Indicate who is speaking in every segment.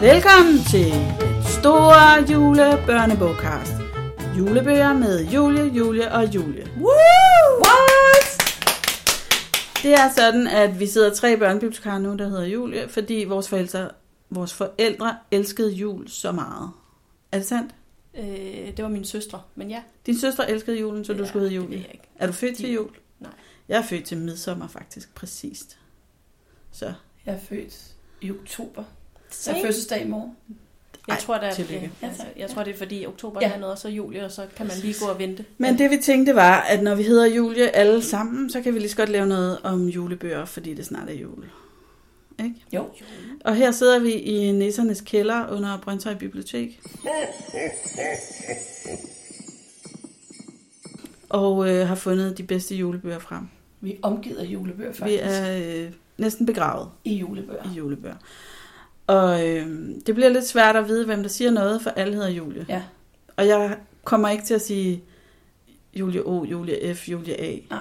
Speaker 1: Velkommen til den store julebørnebogkast. Julebøger med Julie, Julie og Julie.
Speaker 2: Woo! What?
Speaker 1: Det er sådan, at vi sidder tre børnebibliotekarer nu, der hedder Julie, fordi vores forældre, vores forældre elskede jul så meget. Er det sandt?
Speaker 2: Øh, det var min søstre, men ja.
Speaker 1: Din søster elskede julen, så du
Speaker 2: Eller,
Speaker 1: skulle hedde
Speaker 2: det ved
Speaker 1: Julie.
Speaker 2: jeg ikke.
Speaker 1: Er du født til
Speaker 2: De-
Speaker 1: jul?
Speaker 2: nej.
Speaker 1: Jeg er født til midsommer faktisk, præcist. Så
Speaker 3: Jeg er født i oktober. Jeg har fødselsdag i morgen.
Speaker 2: Jeg
Speaker 1: Ej,
Speaker 2: tror, der,
Speaker 1: tillykke.
Speaker 2: ja, altså, jeg tror, det er fordi oktober
Speaker 3: Ja.
Speaker 2: ja. er noget, og så juli, og så kan man lige gå og vente.
Speaker 1: Men det vi tænkte var, at når vi hedder Julie alle sammen, så kan vi lige så godt lave noget om julebøger, fordi det snart er jul. Ikke?
Speaker 3: Jo.
Speaker 1: Og her sidder vi i Nissernes kælder under Brøndshøj Bibliotek. Og øh, har fundet de bedste julebøger frem.
Speaker 3: Vi er omgivet af julebøger
Speaker 1: Vi
Speaker 3: faktisk.
Speaker 1: er øh, næsten begravet
Speaker 3: I julebøger.
Speaker 1: i julebøger. Og øh, det bliver lidt svært at vide, hvem der siger noget, for alle hedder Julie.
Speaker 3: Ja.
Speaker 1: Og jeg kommer ikke til at sige Julie O, Julie F, Julie A,
Speaker 3: Nej.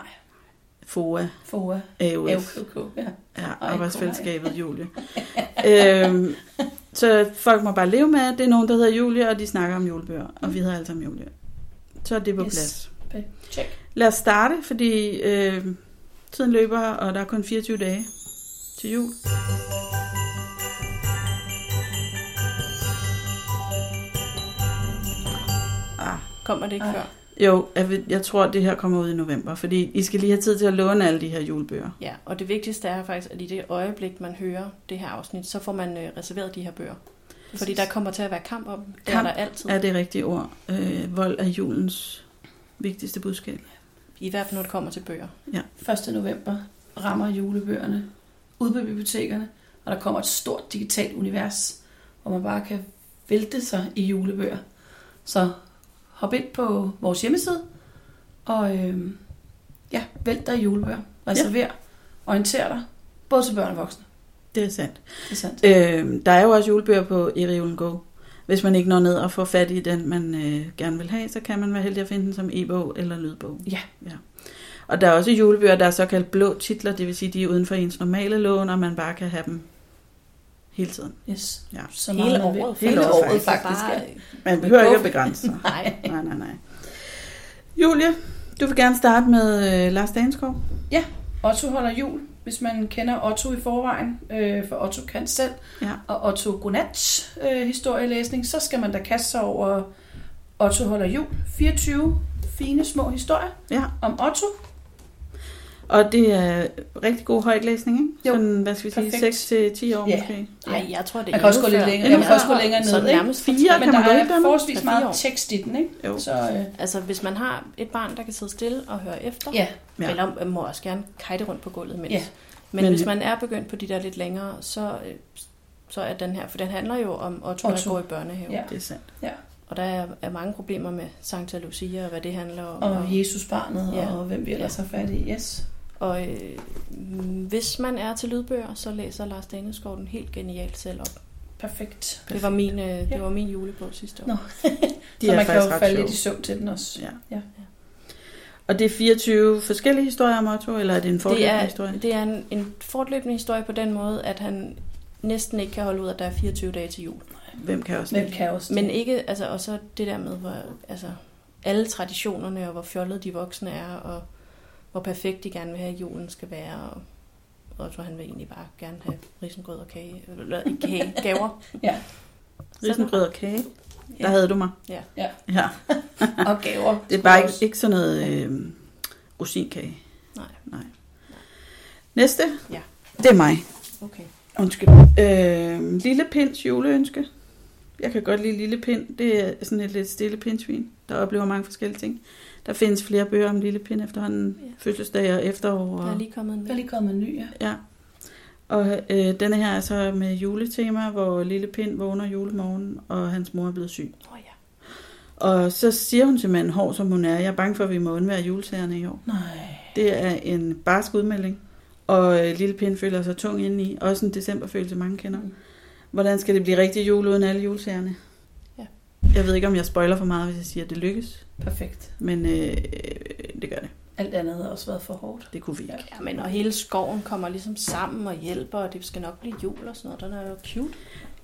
Speaker 1: FOA,
Speaker 3: FOA.
Speaker 1: AUF,
Speaker 3: AUKK. Ja.
Speaker 1: ja,
Speaker 3: Ej,
Speaker 1: arbejdsfællesskabet Julie. øhm, så folk må bare leve med, at det er nogen, der hedder Julie, og de snakker om julebøger, og vi hedder alle sammen Julie. Så er det på
Speaker 3: Mm. Yes.
Speaker 1: plads.
Speaker 3: Check.
Speaker 1: Lad os starte, fordi øh, tiden løber, og der er kun 24 dage til jul. Ah,
Speaker 2: Kommer det ikke
Speaker 3: Ej.
Speaker 2: før?
Speaker 1: jo, jeg, ved, jeg tror, det her kommer ud i november, fordi I skal lige have tid til at låne alle de her julebøger.
Speaker 2: Ja, og det vigtigste er faktisk, at i det øjeblik, man hører det her afsnit, så får man øh, reserveret de her bøger. Fordi der kommer til at være kamp om dem. Det er
Speaker 1: Kamp
Speaker 2: der altid.
Speaker 1: er det rigtige ord. Øh, vold er julens vigtigste budskab.
Speaker 2: I hvert fald, når det kommer til bøger.
Speaker 3: 1. november rammer julebøgerne ude på bibliotekerne, og der kommer et stort digitalt univers, hvor man bare kan vælte sig i julebøger. Så hop ind på vores hjemmeside, og øhm, ja, vælt dig i julebøger. Reserver, ja. orienter dig, både til børn og voksne.
Speaker 1: Det er sandt.
Speaker 3: Det er sandt.
Speaker 1: Øh, der er jo også julebøger på Eriulen Go. Hvis man ikke når ned og får fat i den, man øh, gerne vil have, så kan man være heldig at finde den som e-bog eller lydbog.
Speaker 3: Ja.
Speaker 1: ja. Og der er også julebøger, der er såkaldt blå titler, det vil sige, de er uden for ens normale lån, og man bare kan have dem hele tiden.
Speaker 3: Yes.
Speaker 1: Ja.
Speaker 3: Så meget man vil.
Speaker 1: Hele
Speaker 2: faktisk.
Speaker 1: året,
Speaker 2: Altså
Speaker 3: faktisk,
Speaker 2: Bare,
Speaker 1: Man behøver ikke at begrænse sig.
Speaker 2: nej,
Speaker 1: Nej, nej, nej. Julie, du vil gerne starte med øh, Lars Danskov.
Speaker 3: Otto holder jul, hvis man kender Otto i forvejen, øh, for Otto kan selv,
Speaker 1: Ja.
Speaker 3: og Otto Gunats øh, historielæsning, så skal man da kaste sig over Otto holder jul. 24 fine små historier
Speaker 1: Ja.
Speaker 3: om Otto.
Speaker 1: Og det er rigtig god højtlæsning, ikke?
Speaker 3: Jo,
Speaker 1: Sådan, hvad skal vi
Speaker 3: perfekt.
Speaker 1: sige, 6-10 år
Speaker 3: Ja.
Speaker 1: måske.
Speaker 2: nej, jeg tror, det er
Speaker 3: Man kan også
Speaker 2: endnu
Speaker 3: gå lidt
Speaker 2: før.
Speaker 3: længere-
Speaker 1: man kan
Speaker 3: også gå længere
Speaker 2: Så
Speaker 3: ned, ikke?
Speaker 2: nærmest
Speaker 1: Fire
Speaker 3: Men
Speaker 1: kan
Speaker 3: der
Speaker 1: man
Speaker 3: er
Speaker 1: vælge dem.
Speaker 3: forholdsvis
Speaker 2: Af fire år.
Speaker 3: meget tekst i den, ikke?
Speaker 1: Jo.
Speaker 3: Så øh,
Speaker 2: Altså, hvis man har et barn, der kan sidde stille og høre efter,
Speaker 3: ja,
Speaker 1: Ja.
Speaker 2: ja. eller man må også gerne kajte rundt på gulvet mens.
Speaker 3: Ja.
Speaker 2: Ja.
Speaker 1: Men-
Speaker 2: Men, Men hvis man er begyndt på de der lidt længere, så, øh, så er den her, for den handler jo om Otto,
Speaker 3: Otto.
Speaker 2: der går i børnehave.
Speaker 3: Ja.
Speaker 1: Det er sandt.
Speaker 2: Og der er, er mange problemer med Santa Lucia og hvad det handler om.
Speaker 3: og Jesus barnet,
Speaker 2: Ja.
Speaker 3: og hvem vi ellers har fat i. Yes.
Speaker 2: og øh, mm, hvis man er til lydbøger, så læser Lars Daneskov den helt genialt selv op.
Speaker 3: Perfekt.
Speaker 2: Det var min, øh,
Speaker 3: Ja.
Speaker 2: det var min julebog sidste år.
Speaker 3: Nå.
Speaker 1: De
Speaker 3: så
Speaker 1: er
Speaker 3: man kan
Speaker 1: faktisk
Speaker 3: jo
Speaker 1: ret
Speaker 3: falde
Speaker 1: sjove.
Speaker 3: lidt i søvn til den også.
Speaker 1: Ja.
Speaker 3: Ja.
Speaker 1: Og det er 24 forskellige historier om Otto, eller er det en
Speaker 2: Det
Speaker 1: forløbende
Speaker 2: er,
Speaker 1: historie?
Speaker 2: det er en, en fortløbende historie på den måde, at han næsten ikke kan holde ud, at der er 24 dage til jul.
Speaker 1: Hvem kan også
Speaker 3: Hvem
Speaker 1: det?
Speaker 3: kan også
Speaker 2: Men
Speaker 3: det?
Speaker 2: ikke, altså, og så det der med, hvor altså, alle traditionerne, og hvor fjollede de voksne er, og hvor perfekt de gerne vil have, at julen skal være, og Otto, han vil egentlig bare gerne have risengrød og kage, eller ikke kage, gaver.
Speaker 3: Ja.
Speaker 1: Risengrød og kage, der
Speaker 2: Ja.
Speaker 1: havde du mig.
Speaker 2: Ja.
Speaker 3: Ja.
Speaker 1: ja.
Speaker 3: Og gaver.
Speaker 1: Det er bare ikke, ikke sådan noget øh, rosinkage.
Speaker 2: Nej.
Speaker 1: Nej. Næste?
Speaker 2: Ja.
Speaker 1: Det er mig.
Speaker 2: Okay.
Speaker 1: Undskyld. Øh, lille Pins juleønske. Jeg kan godt lide Lille Pind. Det er sådan et lidt stille pindsvin, der oplever mange forskellige ting. Der findes flere bøger om Lille Pind efterhånden.
Speaker 2: Ja.
Speaker 1: Ja. Fødselsdage og efterår.
Speaker 2: Der er
Speaker 1: Og,
Speaker 2: lige kommet en
Speaker 3: Der er
Speaker 2: med.
Speaker 3: lige kommet en ny, ja.
Speaker 1: ja. Og øh, denne her er så med juletema, hvor Lille Pind vågner julemorgen, og hans mor er blevet syg.
Speaker 2: Åh ja.
Speaker 1: Og så siger hun til manden, hård som hun er, jeg er bange for, at vi må undvære juletagerne i år.
Speaker 3: Nej.
Speaker 1: Det er en barsk udmelding, og øh, Lille Pind føler sig tung indeni. Også en decemberfølelse, mange kender.
Speaker 2: Mm.
Speaker 1: Hvordan skal det blive rigtig jul uden alle julesagerne?
Speaker 2: Ja.
Speaker 1: Jeg ved ikke, om jeg spoiler for meget, hvis jeg siger, at det lykkes,
Speaker 3: Perfekt.
Speaker 1: men øh, det gør det.
Speaker 3: Alt andet havde også været for hårdt.
Speaker 1: Det kunne vi ikke.
Speaker 2: Ja, men og hele skoven kommer ligesom sammen og hjælper, og det skal nok blive jul og sådan noget. Den er jo cute.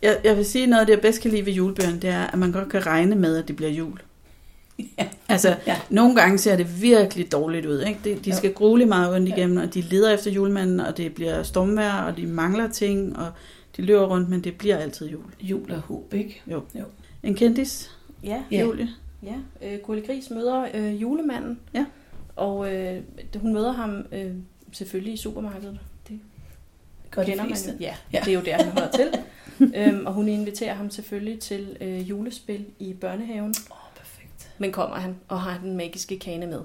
Speaker 1: Jeg, jeg vil sige, noget af det, jeg bedst kan lide ved julebøgerne, det er, at man godt kan regne med, at det bliver jul.
Speaker 3: Ja.
Speaker 1: Altså,
Speaker 3: Ja.
Speaker 1: ja. nogle gange ser det virkelig dårligt ud. Ikke? De, de
Speaker 3: Jo.
Speaker 1: skal grule meget rundt igennem, og de leder efter julemanden, og det bliver stormvejr, og de mangler ting, og de løber rundt, men det bliver altid jul.
Speaker 3: Jul og håb, ikke?
Speaker 1: En kendis,
Speaker 2: Ja,
Speaker 3: Ja.
Speaker 1: ja. Julie.
Speaker 2: ja. Øh, Gurli Gris møder øh, julemanden.
Speaker 1: Ja.
Speaker 2: Og øh, hun møder ham øh, selvfølgelig i supermarkedet.
Speaker 3: Godt
Speaker 2: Kender
Speaker 3: de
Speaker 2: man
Speaker 3: fleste.
Speaker 2: jo. Ja,
Speaker 3: Ja.
Speaker 2: ja, det er jo der, han hører til. øhm, og hun inviterer ham selvfølgelig til øh, julespil i børnehaven.
Speaker 3: Åh, perfekt.
Speaker 2: Men kommer han og har den magiske kane med.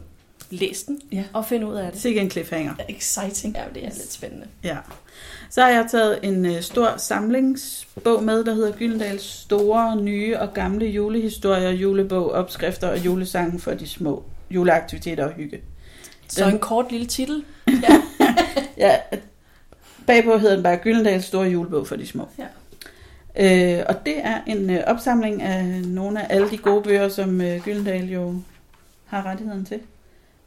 Speaker 2: Læs den
Speaker 3: Ja.
Speaker 2: og find ud af det.
Speaker 1: Sikke en cliffhanger.
Speaker 3: Ja, Exciting.
Speaker 2: Ja, det er lidt spændende.
Speaker 1: Ja. Så har jeg taget en øh, stor samlingsbog med, der hedder Gyldendals store, nye og gamle julehistorier, julebog, opskrifter og julesange for de små juleaktiviteter og hygge.
Speaker 2: Så
Speaker 1: Den-
Speaker 2: en kort lille titel.
Speaker 1: Ja, bagpå hedder den bare Gyldendals store julebog for de små.
Speaker 3: Ja.
Speaker 1: Øh, og det er en øh, opsamling af nogle af alle de gode bøger, som øh, Gyldendal jo har rettigheden til.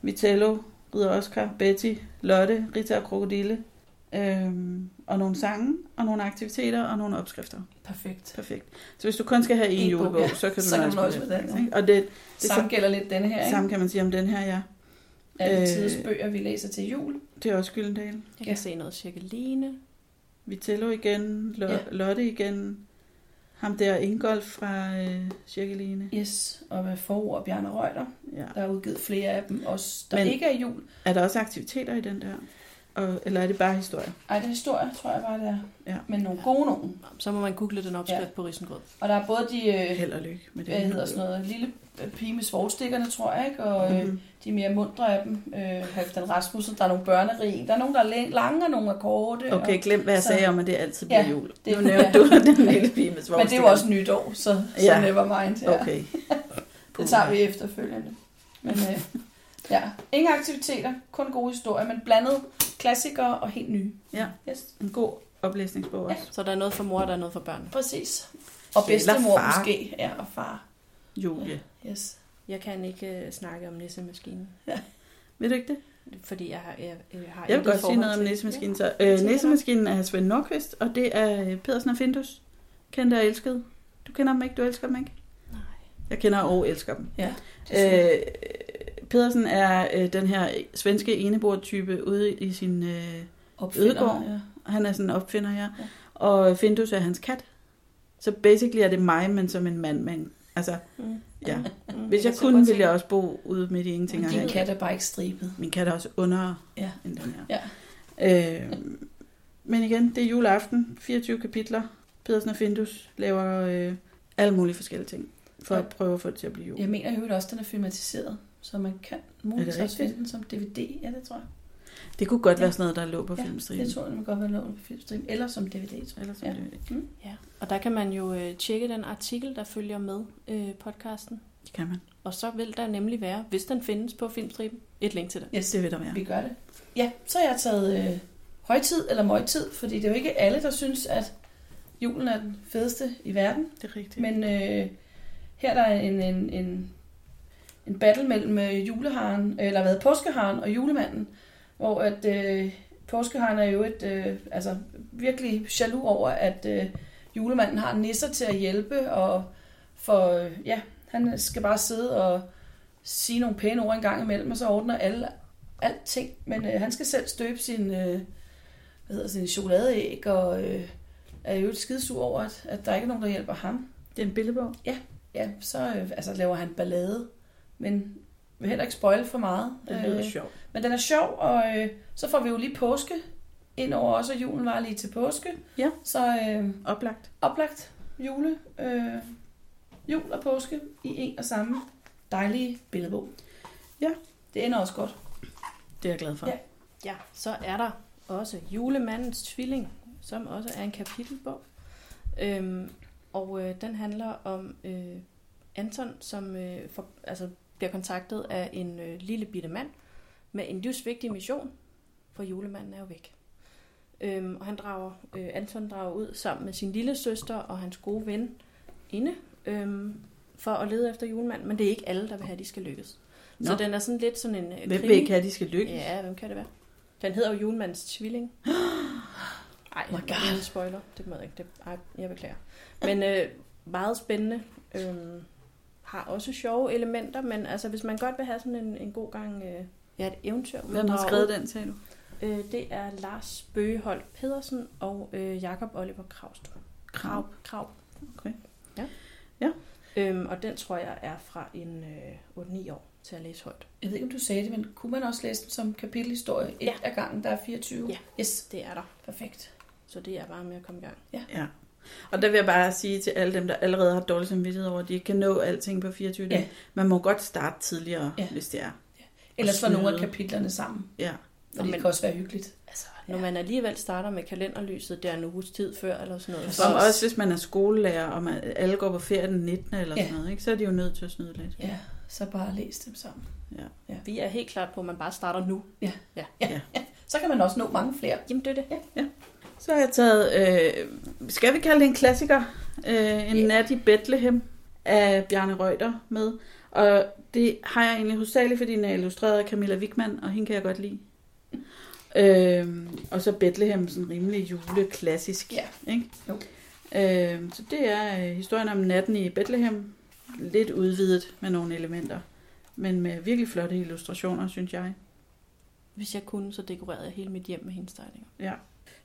Speaker 1: Vitello, Ridder Oscar, Betty, Lotte, Rita og Krokodille. Øh, og nogle sange, og nogle aktiviteter, og nogle opskrifter.
Speaker 3: Perfekt.
Speaker 1: Perfekt. Så hvis du kun skal have en
Speaker 3: En bog,
Speaker 1: julebog,
Speaker 3: ja.
Speaker 1: så kan du
Speaker 3: Så kan du nøjes med
Speaker 1: den.
Speaker 3: den, ja.
Speaker 1: ikke? Og det,
Speaker 3: Det samme gælder lidt denne her,
Speaker 1: det
Speaker 3: ikke?
Speaker 1: samme kan man sige om den her, ja.
Speaker 3: Alle
Speaker 1: Øh.
Speaker 3: tids bøger, vi læser til jul.
Speaker 1: Det er også Gyldendal.
Speaker 2: Jeg kan
Speaker 3: Ja.
Speaker 2: se noget cirkeline.
Speaker 1: Vitello igen, Lo-
Speaker 3: Ja.
Speaker 1: ja. Lotte igen, ham der Ingolf fra øh, Cirkeline.
Speaker 3: Yes, og med forord og Bjarne Røgter.
Speaker 1: Ja.
Speaker 3: Der er udgivet flere af dem, også der Men...
Speaker 1: Men-
Speaker 3: ikke er jul.
Speaker 1: Er der også aktiviteter i den der? Og, eller er det bare historier?
Speaker 3: Ej, det er historie, tror jeg bare, det er.
Speaker 1: Ja.
Speaker 3: Men nogle gode nogen.
Speaker 2: Så må man google den opskrift
Speaker 3: Ja.
Speaker 2: ja. på Risengrød.
Speaker 3: Og der er både de, øh,
Speaker 1: Held og lykke med det.
Speaker 3: hvad hedder sådan noget, lille øh, pige med svovlstikkerne, tror jeg, ikke? Og øh,
Speaker 1: Mhm.
Speaker 3: de mere mundre af dem, øh, Halvdan Rasmussen, der er nogle børnerig. Der er nogen, der er læ- lange, og nogle er korte.
Speaker 1: Okay, glem hvad jeg
Speaker 3: Så-
Speaker 1: sagde om, at det altid bliver
Speaker 3: Ja,
Speaker 1: jul.
Speaker 3: det-
Speaker 1: Det, nu nævnte du den lille pige med
Speaker 3: Og, men det er jo også nytår, så, så
Speaker 1: Ja.
Speaker 3: never mind. Ja.
Speaker 1: Okay.
Speaker 3: Det tager vi efterfølgende. Men øh, ja, ingen aktiviteter, kun gode historier, men blandet klassikere og helt nye.
Speaker 1: Ja.
Speaker 3: Yes.
Speaker 1: En god oplæsningsbog også.
Speaker 2: Så der er noget for mor, og der er noget for børn.
Speaker 3: Præcis. Og
Speaker 1: Eller
Speaker 3: bedstemor
Speaker 1: far.
Speaker 3: måske. Ja, og far.
Speaker 1: Julie.
Speaker 3: Yes.
Speaker 2: Jeg kan ikke øh, snakke om nissemaskinen,
Speaker 1: Ved du ikke det?
Speaker 2: fordi jeg har... Jeg, jeg, har
Speaker 1: Jeg vil
Speaker 2: intet
Speaker 1: godt sige
Speaker 2: forhold
Speaker 1: noget om
Speaker 2: til-
Speaker 1: næsemaskinen. Så,
Speaker 2: tænker
Speaker 1: øh,
Speaker 2: jeg.
Speaker 1: næsemaskinen er Svend Nordqvist, og det er øh, Pedersen og Findus. Kendt og elsket. Du kender dem ikke? Du elsker dem ikke?
Speaker 2: Ja. Nej.
Speaker 1: Jeg kender og elsker dem.
Speaker 3: Øh,
Speaker 1: Øh, Pedersen er øh, den her svenske enebor-type ude i sin... Øh, Ødegård.
Speaker 3: Ja.
Speaker 1: han er sådan en opfinder her.
Speaker 3: Ja.
Speaker 1: Ja. Og Findus er hans kat. Så basically er det mig, men som en mand. Men, altså,
Speaker 2: Mm.
Speaker 1: ja.
Speaker 2: Mm.
Speaker 1: Hvis jeg
Speaker 2: kan
Speaker 1: kunne,
Speaker 2: godt
Speaker 1: ville
Speaker 2: se-
Speaker 1: jeg også bo ude midt i ingenting.
Speaker 3: Men
Speaker 1: og
Speaker 3: din
Speaker 1: have-
Speaker 3: kat er bare ikke stribet.
Speaker 1: Min kat er også under
Speaker 3: Ja.
Speaker 1: end den her.
Speaker 3: Ja.
Speaker 1: Øh, men igen, det er juleaften. 24 kapitler. Pedersen og Findus laver øh, alle mulige forskellige ting. For
Speaker 3: Ja.
Speaker 1: at prøve at få det til at blive jul.
Speaker 3: Jeg mener jo også, den er filmatiseret, så man kan muligvis også
Speaker 1: rigtigt?
Speaker 3: finde den som DVD. Ja, det tror jeg.
Speaker 1: Det kunne godt
Speaker 3: Ja.
Speaker 1: være sådan noget, der lå på
Speaker 3: Ja,
Speaker 1: ja, filmstriben.
Speaker 3: Det tror jeg, man godt være lånt på filmstream. Eller som DVD, tror jeg.
Speaker 1: Eller som
Speaker 3: Ja.
Speaker 1: det
Speaker 2: Ja, og der kan man jo øh, tjekke den artikel, der følger med øh, podcasten.
Speaker 1: det kan man.
Speaker 2: Og så vil der nemlig være, hvis den findes på Filmstriben, et link til den.
Speaker 3: Yes.
Speaker 1: Det vil der være.
Speaker 3: Vi gør det. Ja, så har jeg taget øh, højtid eller møgtid, fordi det er jo ikke alle, der synes, at julen er den fedeste i verden.
Speaker 1: Det er rigtigt.
Speaker 3: Men øh, her er der er en, en, en, en battle mellem øh, juleharen, eller hvad, påskeharen og julemanden, hvor at øh, påskeharen er jo et, øh, altså virkelig jaloux over, at øh, julemanden har nisser til at hjælpe, og for, øh, ja, han skal bare sidde og sige nogle pæne ord en gang imellem, og så ordner alle alting, men øh, han skal selv støbe sin, øh, hvad hedder, sin chokoladeæg, og øh, er jo et skidesur over, at, at der ikke er nogen, der hjælper ham
Speaker 1: Det er en billedbog.
Speaker 3: ja, så øh, altså, laver han ballade, men vil heller ikke spoil for meget.
Speaker 1: Det lyder
Speaker 3: Øh,
Speaker 1: sjovt.
Speaker 3: men den er sjov, og øh, så får vi jo lige påske ind over også, og julen var lige til påske.
Speaker 1: Ja.
Speaker 3: Så øh,
Speaker 1: Oplagt.
Speaker 3: oplagt jule, øh, jul og påske i en og samme dejlige billedbog.
Speaker 1: Ja.
Speaker 3: Det ender også godt.
Speaker 1: Det er jeg glad for.
Speaker 3: Ja.
Speaker 2: Ja, så er der også Julemandens Tvilling, som også er en kapitelbog. Øhm, og øh, den handler om øh, Anton, som øh, for, altså, bliver kontaktet af en øh, lille bitte mand med en livsvigtig mission, for julemanden er jo væk. Øhm, og han drager, øh, Anton drager ud sammen med sin lille søster og hans gode ven inde øhm, for at lede efter julemanden, men det er ikke alle, der vil have, at de skal lykkes. Nå. Så
Speaker 1: Nå.
Speaker 2: den er sådan lidt sådan en øh,
Speaker 1: Hvem
Speaker 2: krimi.
Speaker 1: vil ikke have, de skal lykkes?
Speaker 2: Ja, hvem kan det være? Den hedder jo Julemandens Tvilling. Ej,
Speaker 3: my
Speaker 2: oh
Speaker 3: God.
Speaker 2: en spoiler. Det må jeg ikke. Det, ej, jeg beklager. Men øh, meget spændende. Øhm, har også sjove elementer, men altså, hvis man godt vil have sådan en, en god gang... Øh, ja, et eventyr.
Speaker 1: Hvem har skrevet den, sagde du?
Speaker 2: Øh, det er Lars Bøgeholt Pedersen og øh, Jakob Oliver Kravstrup.
Speaker 1: Krav.
Speaker 2: Krav.
Speaker 1: Okay.
Speaker 2: Ja.
Speaker 1: Ja.
Speaker 2: Øhm, og den tror jeg er fra en øh, 8-9 år til at læse højt.
Speaker 3: Jeg ved ikke, om du sagde det, men kunne man også læse den som kapitelhistorie? Et
Speaker 2: Ja.
Speaker 3: af gangen, der er 24?
Speaker 2: Ja.
Speaker 3: Yes,
Speaker 2: Det er der.
Speaker 3: perfekt.
Speaker 2: Så det er bare med at komme i gang.
Speaker 1: Ja. Og der vil jeg bare sige til alle dem, der allerede har dårlig samvittighed over, at de ikke kan nå alting på 24 dage.
Speaker 3: Ja.
Speaker 1: Man må godt starte tidligere,
Speaker 3: Ja.
Speaker 1: ja. hvis det er.
Speaker 3: Ellers var
Speaker 1: snyde.
Speaker 3: nogle af kapitlerne sammen.
Speaker 1: Ja.
Speaker 3: Og
Speaker 2: Nå,
Speaker 3: det
Speaker 2: men-
Speaker 3: kan også være hyggeligt.
Speaker 2: Altså, når man alligevel starter med kalenderlyset, der er en uges tid før, eller sådan noget.
Speaker 3: Ja,
Speaker 2: Så,
Speaker 1: Som også hvis man er skolelærer, og man, alle går på ferie den 19. eller
Speaker 3: Ja.
Speaker 1: sådan noget, ikke? så er de jo nødt til at snyde lidt.
Speaker 3: Ja, så bare læs dem sammen.
Speaker 2: vi er helt klart på, at man bare starter nu.
Speaker 3: Så kan man også nå mange flere.
Speaker 2: Jamen, det er det.
Speaker 1: Så har jeg taget, øh, skal vi kalde det en klassiker, øh, En
Speaker 2: Ja.
Speaker 1: yeah. nat i Bethlehem af Bjarne Reuter med. Og det har jeg egentlig hovedsageligt, fordi den er illustreret af Camilla Wigman, og hende kan jeg godt lide. Øh, og så Bethlehem, sådan rimelig juleklassisk.
Speaker 3: Ja.
Speaker 1: Ikke?
Speaker 3: Jo.
Speaker 1: Øh, så det er øh, historien om natten i Bethlehem. Lidt udvidet med nogle elementer, men med virkelig flotte illustrationer, synes jeg.
Speaker 2: Hvis jeg kunne, så dekorerede jeg hele mit hjem med hendes tegninger.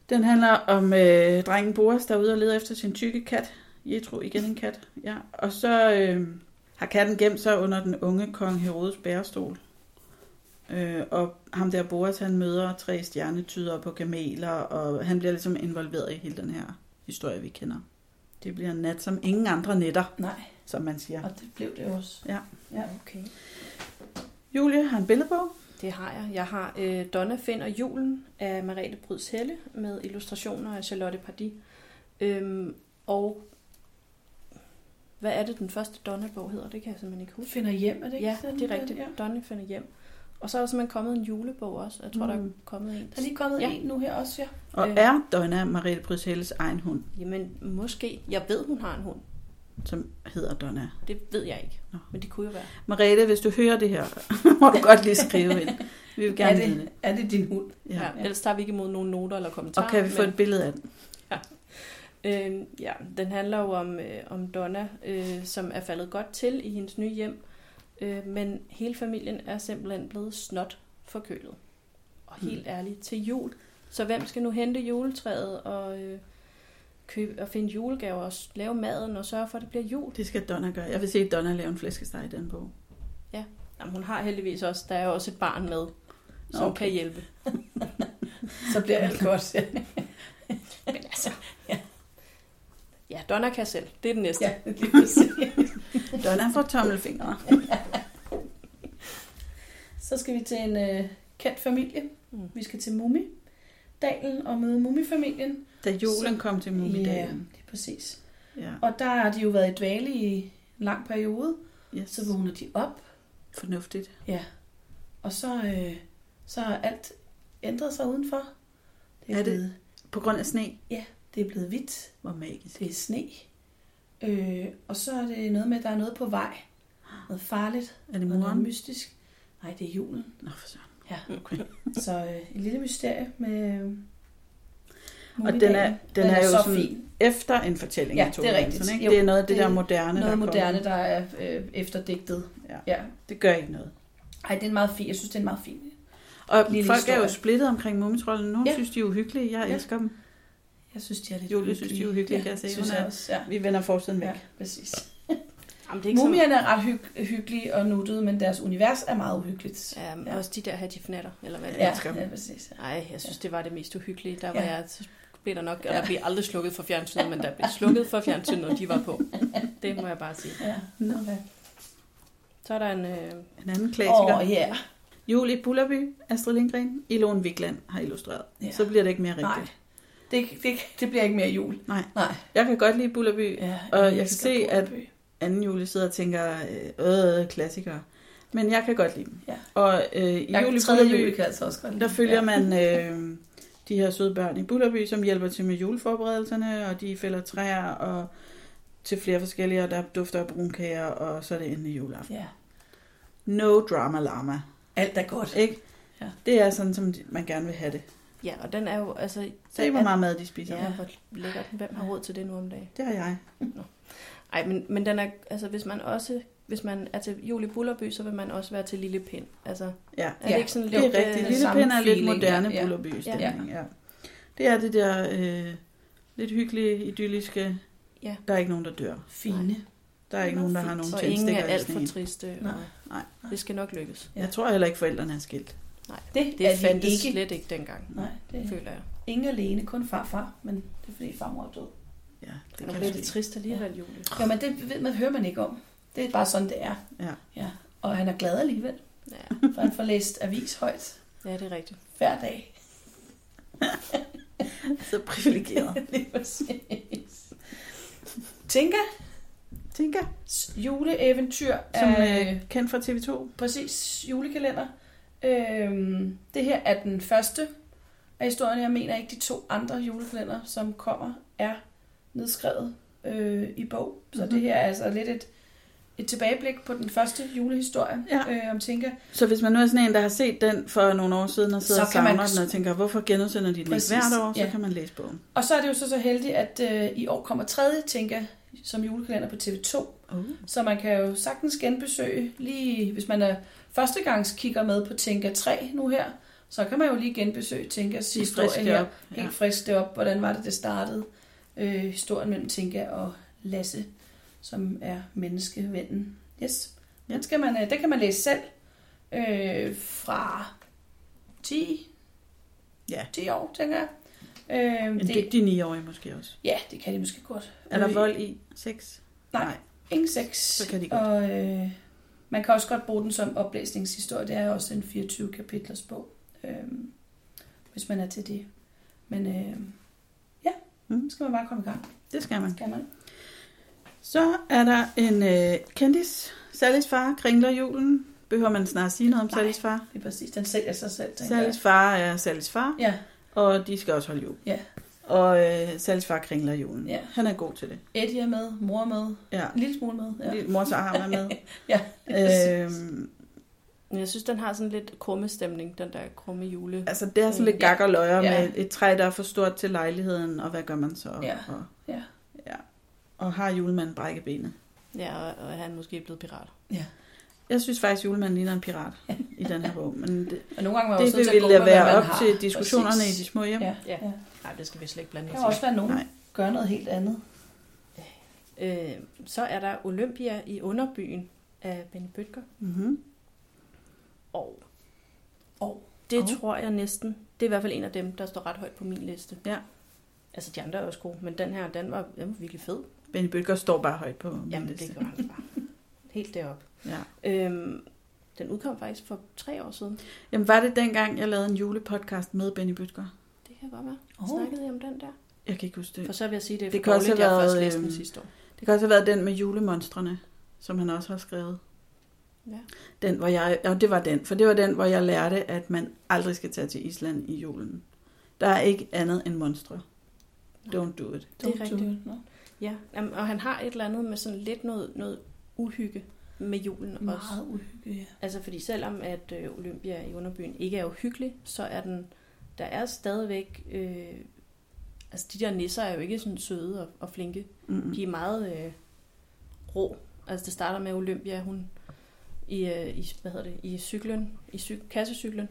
Speaker 1: Den handler om øh, drengen Boris, der er ude og leder efter sin tykke kat. Jetro, igen en kat. Ja. Og så øh, har katten gemt sig under den unge kong Herodes bærestol. Øh, og ham der Boris, han møder tre stjernetydere på gameler, og han bliver ligesom involveret i hele den her historie, vi kender. Det bliver en nat som ingen andre nætter,
Speaker 3: Nej,
Speaker 1: som man siger.
Speaker 3: og det blev det også.
Speaker 2: Okay.
Speaker 1: Julie har en billedbog.
Speaker 2: Det har jeg. Jeg har øh, Donna, Finn og Julen af Marete Bryds Helle med illustrationer af Charlotte Pardis. Øhm, og hvad er det, den første Donna-bog hedder? Det kan jeg simpelthen ikke
Speaker 3: Hun
Speaker 2: huske.
Speaker 3: finder hjem, er det ikke
Speaker 2: Ja,
Speaker 3: sådan,
Speaker 2: det er rigtigt.
Speaker 3: Ja.
Speaker 2: Donna finder hjem. Og så er der simpelthen kommet en julebog også. Jeg tror, der er
Speaker 1: Mm.
Speaker 2: kommet en.
Speaker 3: Der er lige kommet
Speaker 2: Ja.
Speaker 3: ja. en nu her også, ja.
Speaker 1: Og
Speaker 2: Øh.
Speaker 1: er Donna Mariette Bryselles egen hund,
Speaker 2: Jamen, måske. Jeg ved, hun har en hund.
Speaker 1: som hedder Donna.
Speaker 2: Det ved jeg ikke.
Speaker 1: Nå.
Speaker 2: Men det kunne jo være.
Speaker 1: Mariette, hvis du hører det her, må du godt lige skrive ind. Vi vil gerne
Speaker 3: er,
Speaker 1: vide det.
Speaker 3: det, er det din hund?
Speaker 1: Ja.
Speaker 2: Ja. Ellers tager vi ikke imod nogen noter eller kommentarer.
Speaker 1: Og kan vi få et billede af den?
Speaker 2: Øh, ja, den handler jo om, øh, om Donna, øh, som er faldet godt til i hendes nye hjem, øh, men hele familien er simpelthen blevet snot forkølet. Og helt
Speaker 1: Mm.
Speaker 2: ærligt, til jul. Så hvem skal nu hente juletræet og, øh, købe, og finde julegaver og s- lave maden og sørge for, at det bliver jul?
Speaker 1: Det skal Donna gøre. Jeg vil se Donna lave en flæskesteg i den bog.
Speaker 2: Jamen, hun har heldigvis også, der er jo også et barn med, som
Speaker 1: okay.
Speaker 2: okay. kan hjælpe.
Speaker 3: Så bliver alt godt. Ja,
Speaker 2: Men altså, ja. ja, Donna kan selv. Det er den næste.
Speaker 3: ja lige præcis.
Speaker 1: Donna får tommelfingre.
Speaker 3: Så skal vi til en øh, kendt familie.
Speaker 2: Mm.
Speaker 3: Vi skal til Mumidalen og møde Mumifamilien.
Speaker 1: Da julen kom til Mumidagen.
Speaker 3: lige præcis.
Speaker 1: Ja.
Speaker 3: Og der har de jo været i dvale i en lang periode.
Speaker 1: Yes.
Speaker 3: Så vågner de op,
Speaker 1: Fornuftigt.
Speaker 3: og så, øh, så har alt ændret sig udenfor.
Speaker 1: Er det?
Speaker 3: Blevet,
Speaker 1: På grund af sne.
Speaker 3: det er blevet hvidt.
Speaker 1: Hvor magisk.
Speaker 3: Det er sne. Øh, og så er det noget med, at der er noget på vej. Noget farligt.
Speaker 1: Er det
Speaker 3: Noget, noget
Speaker 1: moren?
Speaker 3: mystisk. Nej, det er julen.
Speaker 1: Nå, for søren. Mm.
Speaker 3: Så øh, et lille mysterie med... Øh,
Speaker 1: Og
Speaker 3: Mumidagen.
Speaker 1: den er, den er jo
Speaker 3: så
Speaker 1: sådan
Speaker 3: fin.
Speaker 1: efter en fortælling
Speaker 3: Ja,
Speaker 1: af Tove
Speaker 3: det er
Speaker 1: Jansson,
Speaker 3: rigtigt.
Speaker 1: Ikke?
Speaker 3: Jo,
Speaker 1: det er noget af det,
Speaker 3: det
Speaker 1: der
Speaker 3: er
Speaker 1: moderne, der
Speaker 3: Noget
Speaker 1: er
Speaker 3: moderne, der er øh, efterdigtet.
Speaker 1: Ja.
Speaker 3: ja.
Speaker 1: kommet. Det gør ikke noget.
Speaker 3: Ej, det er en meget fin. Jeg synes, det er en meget fin.
Speaker 1: Og
Speaker 3: Lille
Speaker 1: folk er jo
Speaker 3: historie.
Speaker 1: splittet omkring mumitrollen. Nogle
Speaker 3: Ja.
Speaker 1: ja. synes, de er uhyggelige. Jeg
Speaker 3: Ja.
Speaker 1: elsker dem.
Speaker 3: Jeg synes, de er lidt
Speaker 1: Julie synes, de er uhyggelige,
Speaker 3: ja,
Speaker 1: kan jeg se.
Speaker 3: Synes
Speaker 1: Hun
Speaker 3: jeg
Speaker 1: er-
Speaker 3: også, ja.
Speaker 1: Vi vender forsiden væk.
Speaker 3: ja præcis.
Speaker 2: Jamen, det er ikke så-
Speaker 3: Mumierne er ret hy- hyggelige og nuttede, men deres univers er meget uhyggeligt.
Speaker 2: Ja, men
Speaker 3: Ja.
Speaker 2: Øhm, også de der hattifnatter, eller hvad det
Speaker 1: Ja.
Speaker 2: er.
Speaker 1: elsker dem.
Speaker 3: ja præcis. Ja.
Speaker 2: Ej, jeg synes, det var det mest uhyggelige. Der var
Speaker 3: Ja.
Speaker 2: ja. jeg, så blev der nok, og
Speaker 3: Ja.
Speaker 2: der blev aldrig slukket for fjernsynet, men der blev slukket for fjernsynet, når de var på. Det må jeg bare sige.
Speaker 3: Ja.
Speaker 1: Nå.
Speaker 3: Okay.
Speaker 2: Så er der en, øh,
Speaker 1: En anden klassiker.
Speaker 3: Åh, ja.
Speaker 1: Julie Bullerby, Astrid Lindgren, Ilon Vigland har illustreret.
Speaker 3: Ja.
Speaker 1: Ja. Så bliver det ikke mere
Speaker 3: Nej,
Speaker 1: rigtigt.
Speaker 3: det, det, det bliver ikke mere jul.
Speaker 1: Jeg kan godt lide Bullerby.
Speaker 3: Ja,
Speaker 1: Og jeg
Speaker 3: elsker
Speaker 1: kan se, at-
Speaker 3: Bullerby.
Speaker 1: Anden Julie sidder og tænker, øh, øh klassikere. Men jeg kan godt lide dem.
Speaker 3: Ja.
Speaker 1: Og øh, i
Speaker 3: Jeg,
Speaker 1: Julie
Speaker 3: tredje jul
Speaker 1: Bullerby,
Speaker 3: kan jeg altså også godt lide.
Speaker 1: der følger
Speaker 3: ja.
Speaker 1: man øh, de her søde børn i Bullerby, som hjælper til med juleforberedelserne, og de fælder træer og til flere forskellige, og der dufter af brunkager, og så er det endelig juleaften.
Speaker 3: Ja.
Speaker 1: No drama lama.
Speaker 3: øh, Alt er godt.
Speaker 1: Ikke?
Speaker 3: Ja.
Speaker 1: Det er sådan, som de- man gerne vil have det.
Speaker 2: Ja, og den er jo, altså...
Speaker 1: Se, hvor meget ligesom, mad de spiser.
Speaker 2: Ja, hvor lækkert. Hvem har råd til det nu om dagen?
Speaker 1: Det har jeg.
Speaker 2: Ej, men, men den er, altså, hvis man også hvis man er til Julie Bullerby, så vil man også være til Lille Pind. Altså,
Speaker 1: Ja,
Speaker 2: er
Speaker 3: Ja,
Speaker 2: det ikke sådan
Speaker 1: det er
Speaker 2: lidt...
Speaker 1: rigtigt.
Speaker 2: øh,
Speaker 1: Lille
Speaker 3: samme
Speaker 1: Pind er lidt
Speaker 3: feeling,
Speaker 1: moderne ja.
Speaker 3: ja. Ja.
Speaker 1: bullerby stemning. Ja. ja. Det er det der øh, lidt hyggelige, idylliske...
Speaker 2: Ja.
Speaker 1: Der er ikke nogen, der dør.
Speaker 3: Fine.
Speaker 1: Der er ikke nogen, der har nogen
Speaker 2: så ingen er
Speaker 1: tændstikker i
Speaker 2: alt for
Speaker 1: sneen.
Speaker 2: triste. Og
Speaker 3: Nej,
Speaker 1: nej.
Speaker 2: Det skal nok lykkes.
Speaker 1: Jeg tror heller ikke, forældrene er skilt.
Speaker 3: Det,
Speaker 2: Det
Speaker 3: er
Speaker 2: er fandtes
Speaker 3: de
Speaker 2: ikke.
Speaker 3: ikke.
Speaker 2: slet ikke dengang,
Speaker 3: Nej, det er
Speaker 2: føler jeg.
Speaker 3: ingen alene, kun farfar, men det er fordi farmor er død.
Speaker 1: Ja, det
Speaker 2: Det
Speaker 1: kan
Speaker 2: kan
Speaker 1: jeg
Speaker 2: blive lidt
Speaker 1: se.
Speaker 2: trist alligevel, Julie.
Speaker 3: Jo, men det ved, man, hører man ikke om. Det er bare sådan, det er.
Speaker 1: Ja.
Speaker 3: ja. Og han er glad alligevel,
Speaker 2: Ja,
Speaker 3: for han får læst avis højt
Speaker 2: ja det er rigtigt.
Speaker 3: hver dag.
Speaker 1: Så privilegeret.
Speaker 3: Lige præcis. Tinka,
Speaker 1: Tinka,
Speaker 3: juleeventyr
Speaker 1: som
Speaker 3: er
Speaker 1: øh, kendt fra TV2.
Speaker 3: præcis julekalender. Øhm, det her er den første af historien. Jeg mener ikke, de to andre julekalender, som kommer, er nedskrevet øh, i bog. Så
Speaker 1: Mhm.
Speaker 3: det her er altså lidt et, et tilbageblik på den første julehistorie
Speaker 1: Ja.
Speaker 3: øh, om Tinka.
Speaker 1: Så hvis man nu er sådan en, der har set den for nogle år siden og sidder
Speaker 3: Så
Speaker 1: og
Speaker 3: kan man-
Speaker 1: savner den og tænker, hvorfor genudsender de den ikke
Speaker 3: Præcis,
Speaker 1: hvert år, så
Speaker 3: ja.
Speaker 1: kan man læse bogen.
Speaker 3: Og så er det jo så, så heldigt, at øh, i år kommer tredje Tinka som julekalender på TV2.
Speaker 1: Oh.
Speaker 3: Så man kan jo sagtens genbesøge, lige hvis man er førstegangskigger med på Tinka 3 nu her, så kan man jo lige genbesøge Tinkas
Speaker 1: De er
Speaker 3: historie
Speaker 1: friske
Speaker 3: her.
Speaker 1: op.
Speaker 3: Helt
Speaker 1: Ja.
Speaker 3: frisk det op, hvordan var det, det startede. Øh, historien mellem Tinka og Lasse, som er menneskevennen. Yes.
Speaker 1: Ja.
Speaker 3: Den, skal man, øh, den kan man læse selv øh, fra 10,
Speaker 1: Ja.
Speaker 3: 10 år, tænker jeg. Øh,
Speaker 1: En
Speaker 3: det,
Speaker 1: dygtig 9-årig måske også.
Speaker 3: ja, det kan de måske godt.
Speaker 1: Er der
Speaker 3: Øh,
Speaker 1: vold i? Sex?
Speaker 3: Nej. Ingen sex.
Speaker 1: Så kan de godt.
Speaker 3: Og øh, man kan også godt bruge den som oplæsningshistorie. Det er jo også en 24 kapitlers bog, øh, hvis man er til det. Men øh, ja,
Speaker 1: Mm.
Speaker 3: mm. skal man bare komme i gang.
Speaker 1: Det skal man.
Speaker 3: Skal man?
Speaker 1: Så er der en øh, kendis. Sallys far kringler julen. Behøver man snart sige noget om
Speaker 3: Nej.
Speaker 1: Sallys far?
Speaker 3: Det er præcis, den sælger sig selv, tænker jeg.
Speaker 1: Sallys far er Sallys far,
Speaker 3: Ja,
Speaker 1: og de skal også holde jul.
Speaker 3: Ja.
Speaker 1: Og øh, Sallys far kringler julen.
Speaker 3: Ja.
Speaker 1: Han er god til det.
Speaker 3: Eddie er med, mor er med,
Speaker 1: Ja.
Speaker 3: en lille smule med. Ja.
Speaker 1: ja. Mors arm er med.
Speaker 3: Ja,
Speaker 1: øhm,
Speaker 2: Men jeg synes, den har sådan lidt krumme stemning, den der krumme jule.
Speaker 1: altså, det er sådan lidt
Speaker 2: Ja.
Speaker 1: gak og løjer
Speaker 3: Ja.
Speaker 1: ja. med et træ, der er for stort til lejligheden, og hvad gør man så?
Speaker 3: Ja.
Speaker 1: Og,
Speaker 3: Ja.
Speaker 1: ja. Og har julemanden brækket benet?
Speaker 2: Ja, og, og han er måske blevet pirat.
Speaker 1: Jeg synes faktisk, julemanden ligner en pirat i den her bog, men det,
Speaker 3: Og nogle gange var
Speaker 1: det
Speaker 3: også nødt til
Speaker 1: vil
Speaker 3: at gå
Speaker 1: ville
Speaker 3: med, hvad
Speaker 1: være
Speaker 3: man
Speaker 1: op
Speaker 3: har.
Speaker 1: til diskussionerne
Speaker 3: Præcis.
Speaker 1: i de små hjem.
Speaker 3: Ja, ja.
Speaker 2: Ja.
Speaker 3: ja.
Speaker 2: Nej, det skal vi slet ikke blande
Speaker 3: Der
Speaker 2: os
Speaker 3: kan også
Speaker 2: i.
Speaker 3: være nogen,
Speaker 1: Nej.
Speaker 3: der gør noget helt andet.
Speaker 2: Øh, så er der Olympia i underbyen af Benny Bøtger.
Speaker 1: Mm-hmm.
Speaker 2: Og,
Speaker 3: Og.
Speaker 2: det
Speaker 1: Og.
Speaker 2: tror jeg næsten. Det er i hvert fald en af dem, der står ret højt på min liste.
Speaker 1: Ja.
Speaker 2: Altså, de andre er også gode, men den her, den var, den var virkelig fed.
Speaker 1: Benny Bøtger står bare højt på min
Speaker 2: Jamen,
Speaker 1: liste.
Speaker 2: det gør han bare. Helt deroppe.
Speaker 1: Ja.
Speaker 2: Øhm, den udkom faktisk for tre år siden.
Speaker 1: Jamen, var det dengang, jeg lavede en julepodcast med Benny Bøtger?
Speaker 2: Det kan godt være.
Speaker 3: Åh.
Speaker 2: Oh. Snakkede jeg om den der?
Speaker 1: Jeg kan ikke huske det.
Speaker 2: For så vil jeg sige, det er
Speaker 1: Mm. Det
Speaker 2: det
Speaker 1: kan
Speaker 2: for
Speaker 1: også
Speaker 2: dårligt,
Speaker 1: have
Speaker 2: jeg først
Speaker 1: været,
Speaker 2: læste den
Speaker 1: øhm,
Speaker 2: sidste år.
Speaker 1: Det kan også have været den med julemonstrene, som han også har skrevet.
Speaker 2: Ja.
Speaker 1: Den, hvor jeg, og det var den, for det var den, hvor jeg lærte, at man aldrig skal tage til Island i julen. Der er ikke andet end monstre. Don't do it.
Speaker 2: Det er
Speaker 3: Don't do
Speaker 2: rigtigt.
Speaker 3: it, no?
Speaker 2: Ja, jamen, og han har et eller andet med sådan lidt noget, noget uhygge med julen også.
Speaker 3: Meget uhyggeligt, ja.
Speaker 2: Altså fordi selvom at øh, Olympia i underbyen ikke er uhyggelig, så er den, der er stadigvæk, øh, altså de der nisser er jo ikke sådan søde og, og flinke.
Speaker 1: Mm-mm.
Speaker 2: De er meget øh, rå. Altså det starter med Olympia, hun i, øh, i hvad hedder det, i cyklen, i cy- kassecyklen,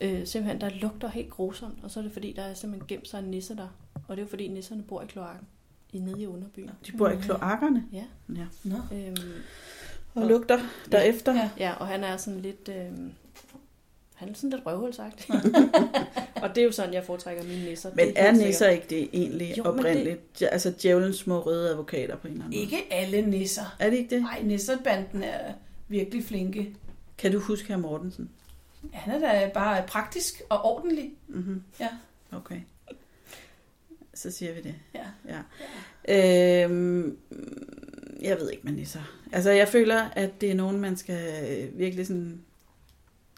Speaker 2: øh, simpelthen der lugter helt grusomt, og så er det fordi, der er simpelthen gemt sig en nisse der. Og det er jo fordi, nisserne bor i kloakken, i nede i underbyen.
Speaker 1: De bor i kloakkerne
Speaker 2: Ja.
Speaker 1: ja.
Speaker 3: Nå.
Speaker 2: Øhm,
Speaker 1: og lugter derefter.
Speaker 3: Ja.
Speaker 2: Ja, og han er sådan lidt... Øh, han er sådan lidt røvhulsagtig. og det er jo sådan, jeg foretrækker mine nisser.
Speaker 1: Men
Speaker 2: Det
Speaker 1: er
Speaker 2: helt
Speaker 1: nisser
Speaker 2: sikkert.
Speaker 1: ikke det egentlig
Speaker 2: Jo,
Speaker 1: jo,
Speaker 2: men
Speaker 1: oprindeligt? Det... Altså djævelens små røde advokater på en eller anden måde.
Speaker 3: Ikke alle nisser.
Speaker 1: Er det ikke det?
Speaker 3: Nej, nisserbanden er virkelig flinke.
Speaker 1: Kan du huske her Mortensen?
Speaker 3: Han er da bare praktisk og ordentlig.
Speaker 1: Mm-hmm.
Speaker 3: Ja.
Speaker 1: Okay. Så siger vi det.
Speaker 3: Ja.
Speaker 1: ja. Øhm, jeg ved ikke, man lige så. Altså, jeg føler, at det er nogen, man skal øh, virkelig sådan...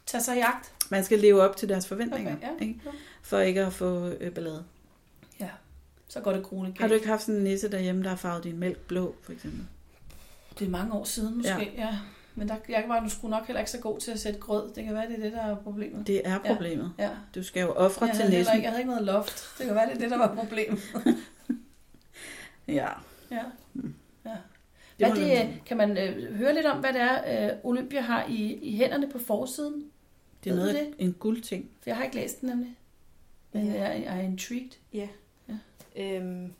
Speaker 3: Tag sig i jagt.
Speaker 1: Man skal leve op til deres forventninger,
Speaker 3: Okay, ja.
Speaker 1: ikke? for ikke at få øh, ballade.
Speaker 3: Ja. Så går det grueligt galt.
Speaker 1: Har du ikke haft sådan en nisse derhjemme, der har farvet din mælk blå, for eksempel?
Speaker 3: Det er mange år siden måske. Ja. ja. Men der, jeg var nu sgu nok heller ikke så god til at sætte grød. Det kan være, det er det, der er problemet.
Speaker 1: Det er problemet.
Speaker 3: Ja.
Speaker 1: Du skal jo ofre
Speaker 3: Jeg
Speaker 1: til
Speaker 3: havde, heller
Speaker 1: næsen.
Speaker 3: ikke, jeg havde ikke noget loft. Det kan være, det er det, der var problemet.
Speaker 1: Ja.
Speaker 3: Ja. ja.
Speaker 1: Det
Speaker 3: Hvad
Speaker 1: må
Speaker 3: Mm. det,
Speaker 1: man-
Speaker 3: øh, kan man øh, høre lidt om, hvad det er, øh, Olympia har i, i hænderne på forsiden?
Speaker 1: Det er
Speaker 3: Ved
Speaker 1: noget
Speaker 3: du
Speaker 1: af en guldting.
Speaker 3: For jeg har ikke læst den nemlig. Men
Speaker 2: Ja.
Speaker 3: jeg, jeg er intrigued.
Speaker 2: Øhm,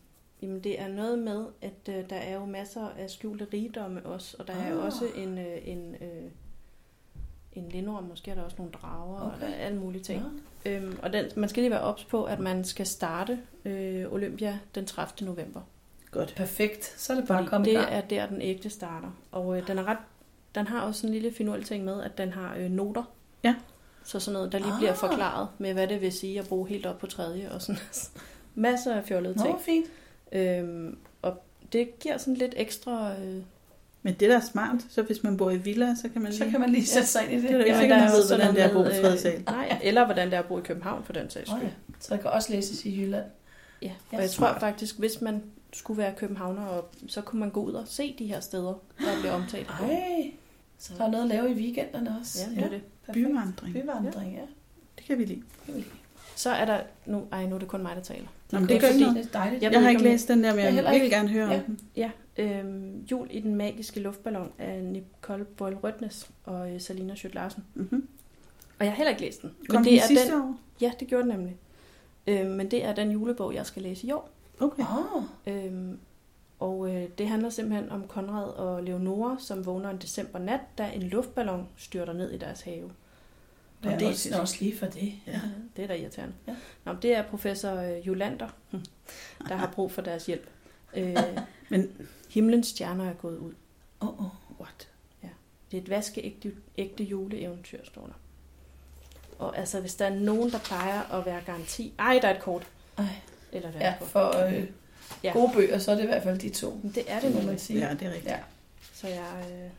Speaker 2: jamen det er noget med, at øh, der er jo masser af skjulte rigdomme også, og der er jo
Speaker 3: Ah.
Speaker 2: også en, øh, en, øh, en lindorm, måske er der også nogle drager, okay.
Speaker 3: Okay.
Speaker 2: og der er alle mulige ting.
Speaker 3: Nå.
Speaker 2: Øhm, og den, man skal lige være ops på, at man skal starte øh, Olympia den 30. november.
Speaker 1: Godt.
Speaker 3: Perfekt. Så er det bare at komme i
Speaker 2: det
Speaker 3: gang.
Speaker 2: er der, den ægte starter. Og øh, den, er ret, den har også en lille finurlig ting med, at den har øh, noter.
Speaker 1: Ja.
Speaker 2: Så sådan noget, der lige
Speaker 3: Ah.
Speaker 2: bliver forklaret med, hvad det vil sige at bo helt op på tredje og sådan Masser af fjollede ting.
Speaker 3: Nå, fint.
Speaker 2: Øhm, og det giver sådan lidt ekstra... Øh,
Speaker 1: Men det, der er smart, så hvis man bor i villa, så kan man lige...
Speaker 3: Så kan man lige sætte sig ind i det.
Speaker 1: Det er da ikke
Speaker 2: ja,
Speaker 1: sikkert,
Speaker 2: der
Speaker 1: man ved,
Speaker 2: også sådan
Speaker 1: hvordan det er at bo
Speaker 2: noget
Speaker 1: på
Speaker 2: med,
Speaker 1: tredje sal.
Speaker 2: Øh, nej, eller hvordan det er at bo i København, for den sags
Speaker 3: Åh,
Speaker 2: skyld.
Speaker 3: ja. Så det kan også læses i Jylland.
Speaker 2: Ja,
Speaker 3: Ja,
Speaker 2: og jeg
Speaker 3: smart.
Speaker 2: tror faktisk, hvis man skulle være københavner, og så kunne man gå ud og se de her steder, der bliver omtalt.
Speaker 3: Ej, så der er noget at lave i weekenderne også.
Speaker 2: Ja, det er det.
Speaker 3: Perfekt.
Speaker 1: Byvandring.
Speaker 3: Byvandring, ja.
Speaker 1: Det kan vi lide.
Speaker 2: Så er der... Nu, ej, nu er det kun mig, der taler.
Speaker 1: Nå, men
Speaker 3: Det
Speaker 1: det gør
Speaker 3: er
Speaker 1: ikke noget.
Speaker 3: Det er dejligt.
Speaker 2: Jeg
Speaker 1: Jeg,
Speaker 2: ved
Speaker 1: har
Speaker 2: ikke,
Speaker 1: ikke
Speaker 2: om-
Speaker 1: læst den der, men
Speaker 3: Jeg
Speaker 1: jeg
Speaker 3: heller
Speaker 1: vil virkelig gerne høre om
Speaker 3: Ja.
Speaker 1: den.
Speaker 2: Ja, øhm, Jul i den magiske luftballon af Nicole Boyle Rødnes og øh, Salina Schødt Larsen.
Speaker 1: Mm-hmm.
Speaker 2: Og jeg har heller ikke læst den.
Speaker 1: Kom
Speaker 2: det
Speaker 1: det
Speaker 2: er
Speaker 1: sidste
Speaker 2: den,
Speaker 1: år?
Speaker 2: ja, det gjorde den nemlig. Øhm, men det er den julebog, jeg skal læse i år.
Speaker 1: Okay.
Speaker 3: Åh,
Speaker 2: Øhm, og øh, det handler simpelthen om Konrad og Leonora, som vågner en decembernat, da en luftballon styrter ned i deres have.
Speaker 3: det
Speaker 1: det er
Speaker 3: er også, også lige for det.
Speaker 1: Ja.
Speaker 2: Det er da irriterende.
Speaker 3: Ja.
Speaker 2: Ja. Nå, men det er professor øh, Jolander, der har brug for deres hjælp. Øh,
Speaker 1: Men-
Speaker 2: himlens stjerner er gået ud.
Speaker 3: Åh, oh, oh.
Speaker 1: What?
Speaker 2: Det er et vaskeægte ægte juleeventyr, står der. Og altså, hvis der er nogen, der plejer at være garanti... Ej, der er et kort.
Speaker 3: Ej.
Speaker 2: Eller der er
Speaker 3: Ja,
Speaker 2: et kort.
Speaker 3: for øh,
Speaker 2: Ja.
Speaker 3: gode bøger, så er det i hvert fald de to.
Speaker 2: Men det er
Speaker 3: Det
Speaker 2: det
Speaker 3: må
Speaker 2: nu.
Speaker 3: man sige.
Speaker 1: Ja, det er rigtigt.
Speaker 3: Ja.
Speaker 2: Så jeg, øh,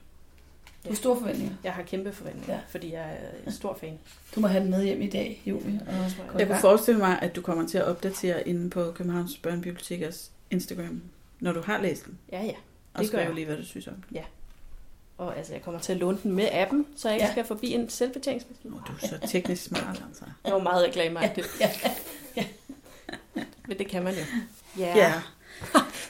Speaker 3: Du har store forventninger.
Speaker 2: jeg har kæmpe forventninger,
Speaker 3: Ja.
Speaker 2: ja. fordi jeg er en stor fan.
Speaker 3: Du må have den med hjem i dag, Julie. Og
Speaker 2: Det tror jeg.
Speaker 1: Jeg kunne forestille mig, at du kommer til at opdatere inde på Københavns Børnebibliotekers Instagram, når du har læst den.
Speaker 2: Ja, ja.
Speaker 1: Og
Speaker 2: Det gør
Speaker 1: skriv
Speaker 2: jeg.
Speaker 1: lige, hvad du synes om den.
Speaker 2: Og altså, jeg kommer til at låne den med appen, så jeg ikke
Speaker 3: Ja.
Speaker 2: ja. skal forbi en selvbetjeningsmaskine.
Speaker 1: Nå, du er så teknisk smart, altså.
Speaker 2: Det var meget reklameagtigt. Ja. Ja. Men det kan man jo. Ja.
Speaker 1: Ja.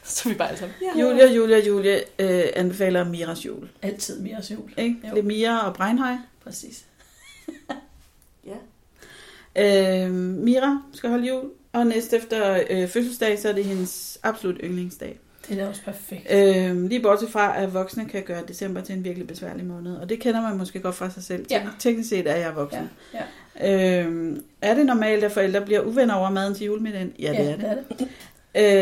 Speaker 2: Så er vi bare alle sammen. Ja.
Speaker 1: Julia, Julia, Julia øh, anbefaler Miras jul.
Speaker 3: Altid mere jul. Jo.
Speaker 1: Ikke? Det er Mira og Breinhøj.
Speaker 3: Præcis.
Speaker 2: ja.
Speaker 1: Øh, Mira skal holde jul, og næste efter øh, fødselsdag, så er det hendes absolut yndlingsdag.
Speaker 3: Det er da også perfekt.
Speaker 1: Øh, lige bortset fra, at voksne kan gøre december til en virkelig besværlig måned, og det kender man måske godt fra sig selv.
Speaker 3: Ja.
Speaker 1: Tek- Teknisk set er jeg voksen.
Speaker 3: Ja,
Speaker 1: Ja. Øh, er det normalt, at forældre bliver uvenner over maden til julemiddagen? Ja, det er det.
Speaker 3: er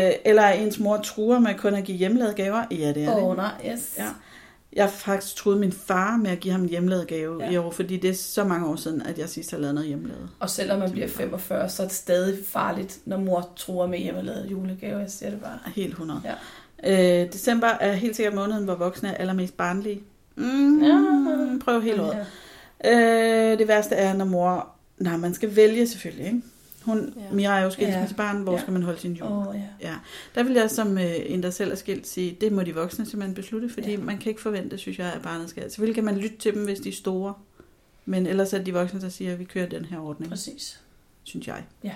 Speaker 3: det.
Speaker 1: Øh, eller er ens mor truer med kun at give hjemmelavede gaver? Ja, det er
Speaker 3: Åh,
Speaker 1: det.
Speaker 3: oh, nej, yes.
Speaker 1: Ja. Jeg har faktisk troet min far med at give ham en hjemmelavet gave
Speaker 3: Ja.
Speaker 1: ja. i år, fordi det er så mange år siden, at jeg sidst har lavet noget hjemmelavet.
Speaker 3: Og selvom man bliver 45, så er det stadig farligt, når mor tror med hjemmelavet julegave. Jeg siger det bare.
Speaker 1: Helt 100.
Speaker 3: Ja.
Speaker 1: Øh, december er helt sikkert måneden, hvor voksne er allermest barnlige. Mm,
Speaker 3: Ja.
Speaker 1: ja. Prøv hele året.
Speaker 3: Ja.
Speaker 1: Ja. Øh, det værste er, når mor... Nej, man skal vælge selvfølgelig, ikke? Hun,
Speaker 2: Ja.
Speaker 1: ja. Mira er jo skilsmissebarn, hvor
Speaker 3: Ja.
Speaker 1: skal man holde sin jul?
Speaker 3: Åh, ja.
Speaker 1: Der vil jeg som øh, en, der selv er skilt, sige, det må de voksne simpelthen beslutte, fordi
Speaker 3: Ja.
Speaker 1: ja. man kan ikke forvente, synes jeg, at barnet skal. Selvfølgelig kan man lytte til dem, hvis de er store. Men ellers er det de voksne, der siger, at vi kører den her ordning
Speaker 3: Præcis.
Speaker 1: synes jeg.
Speaker 3: Ja.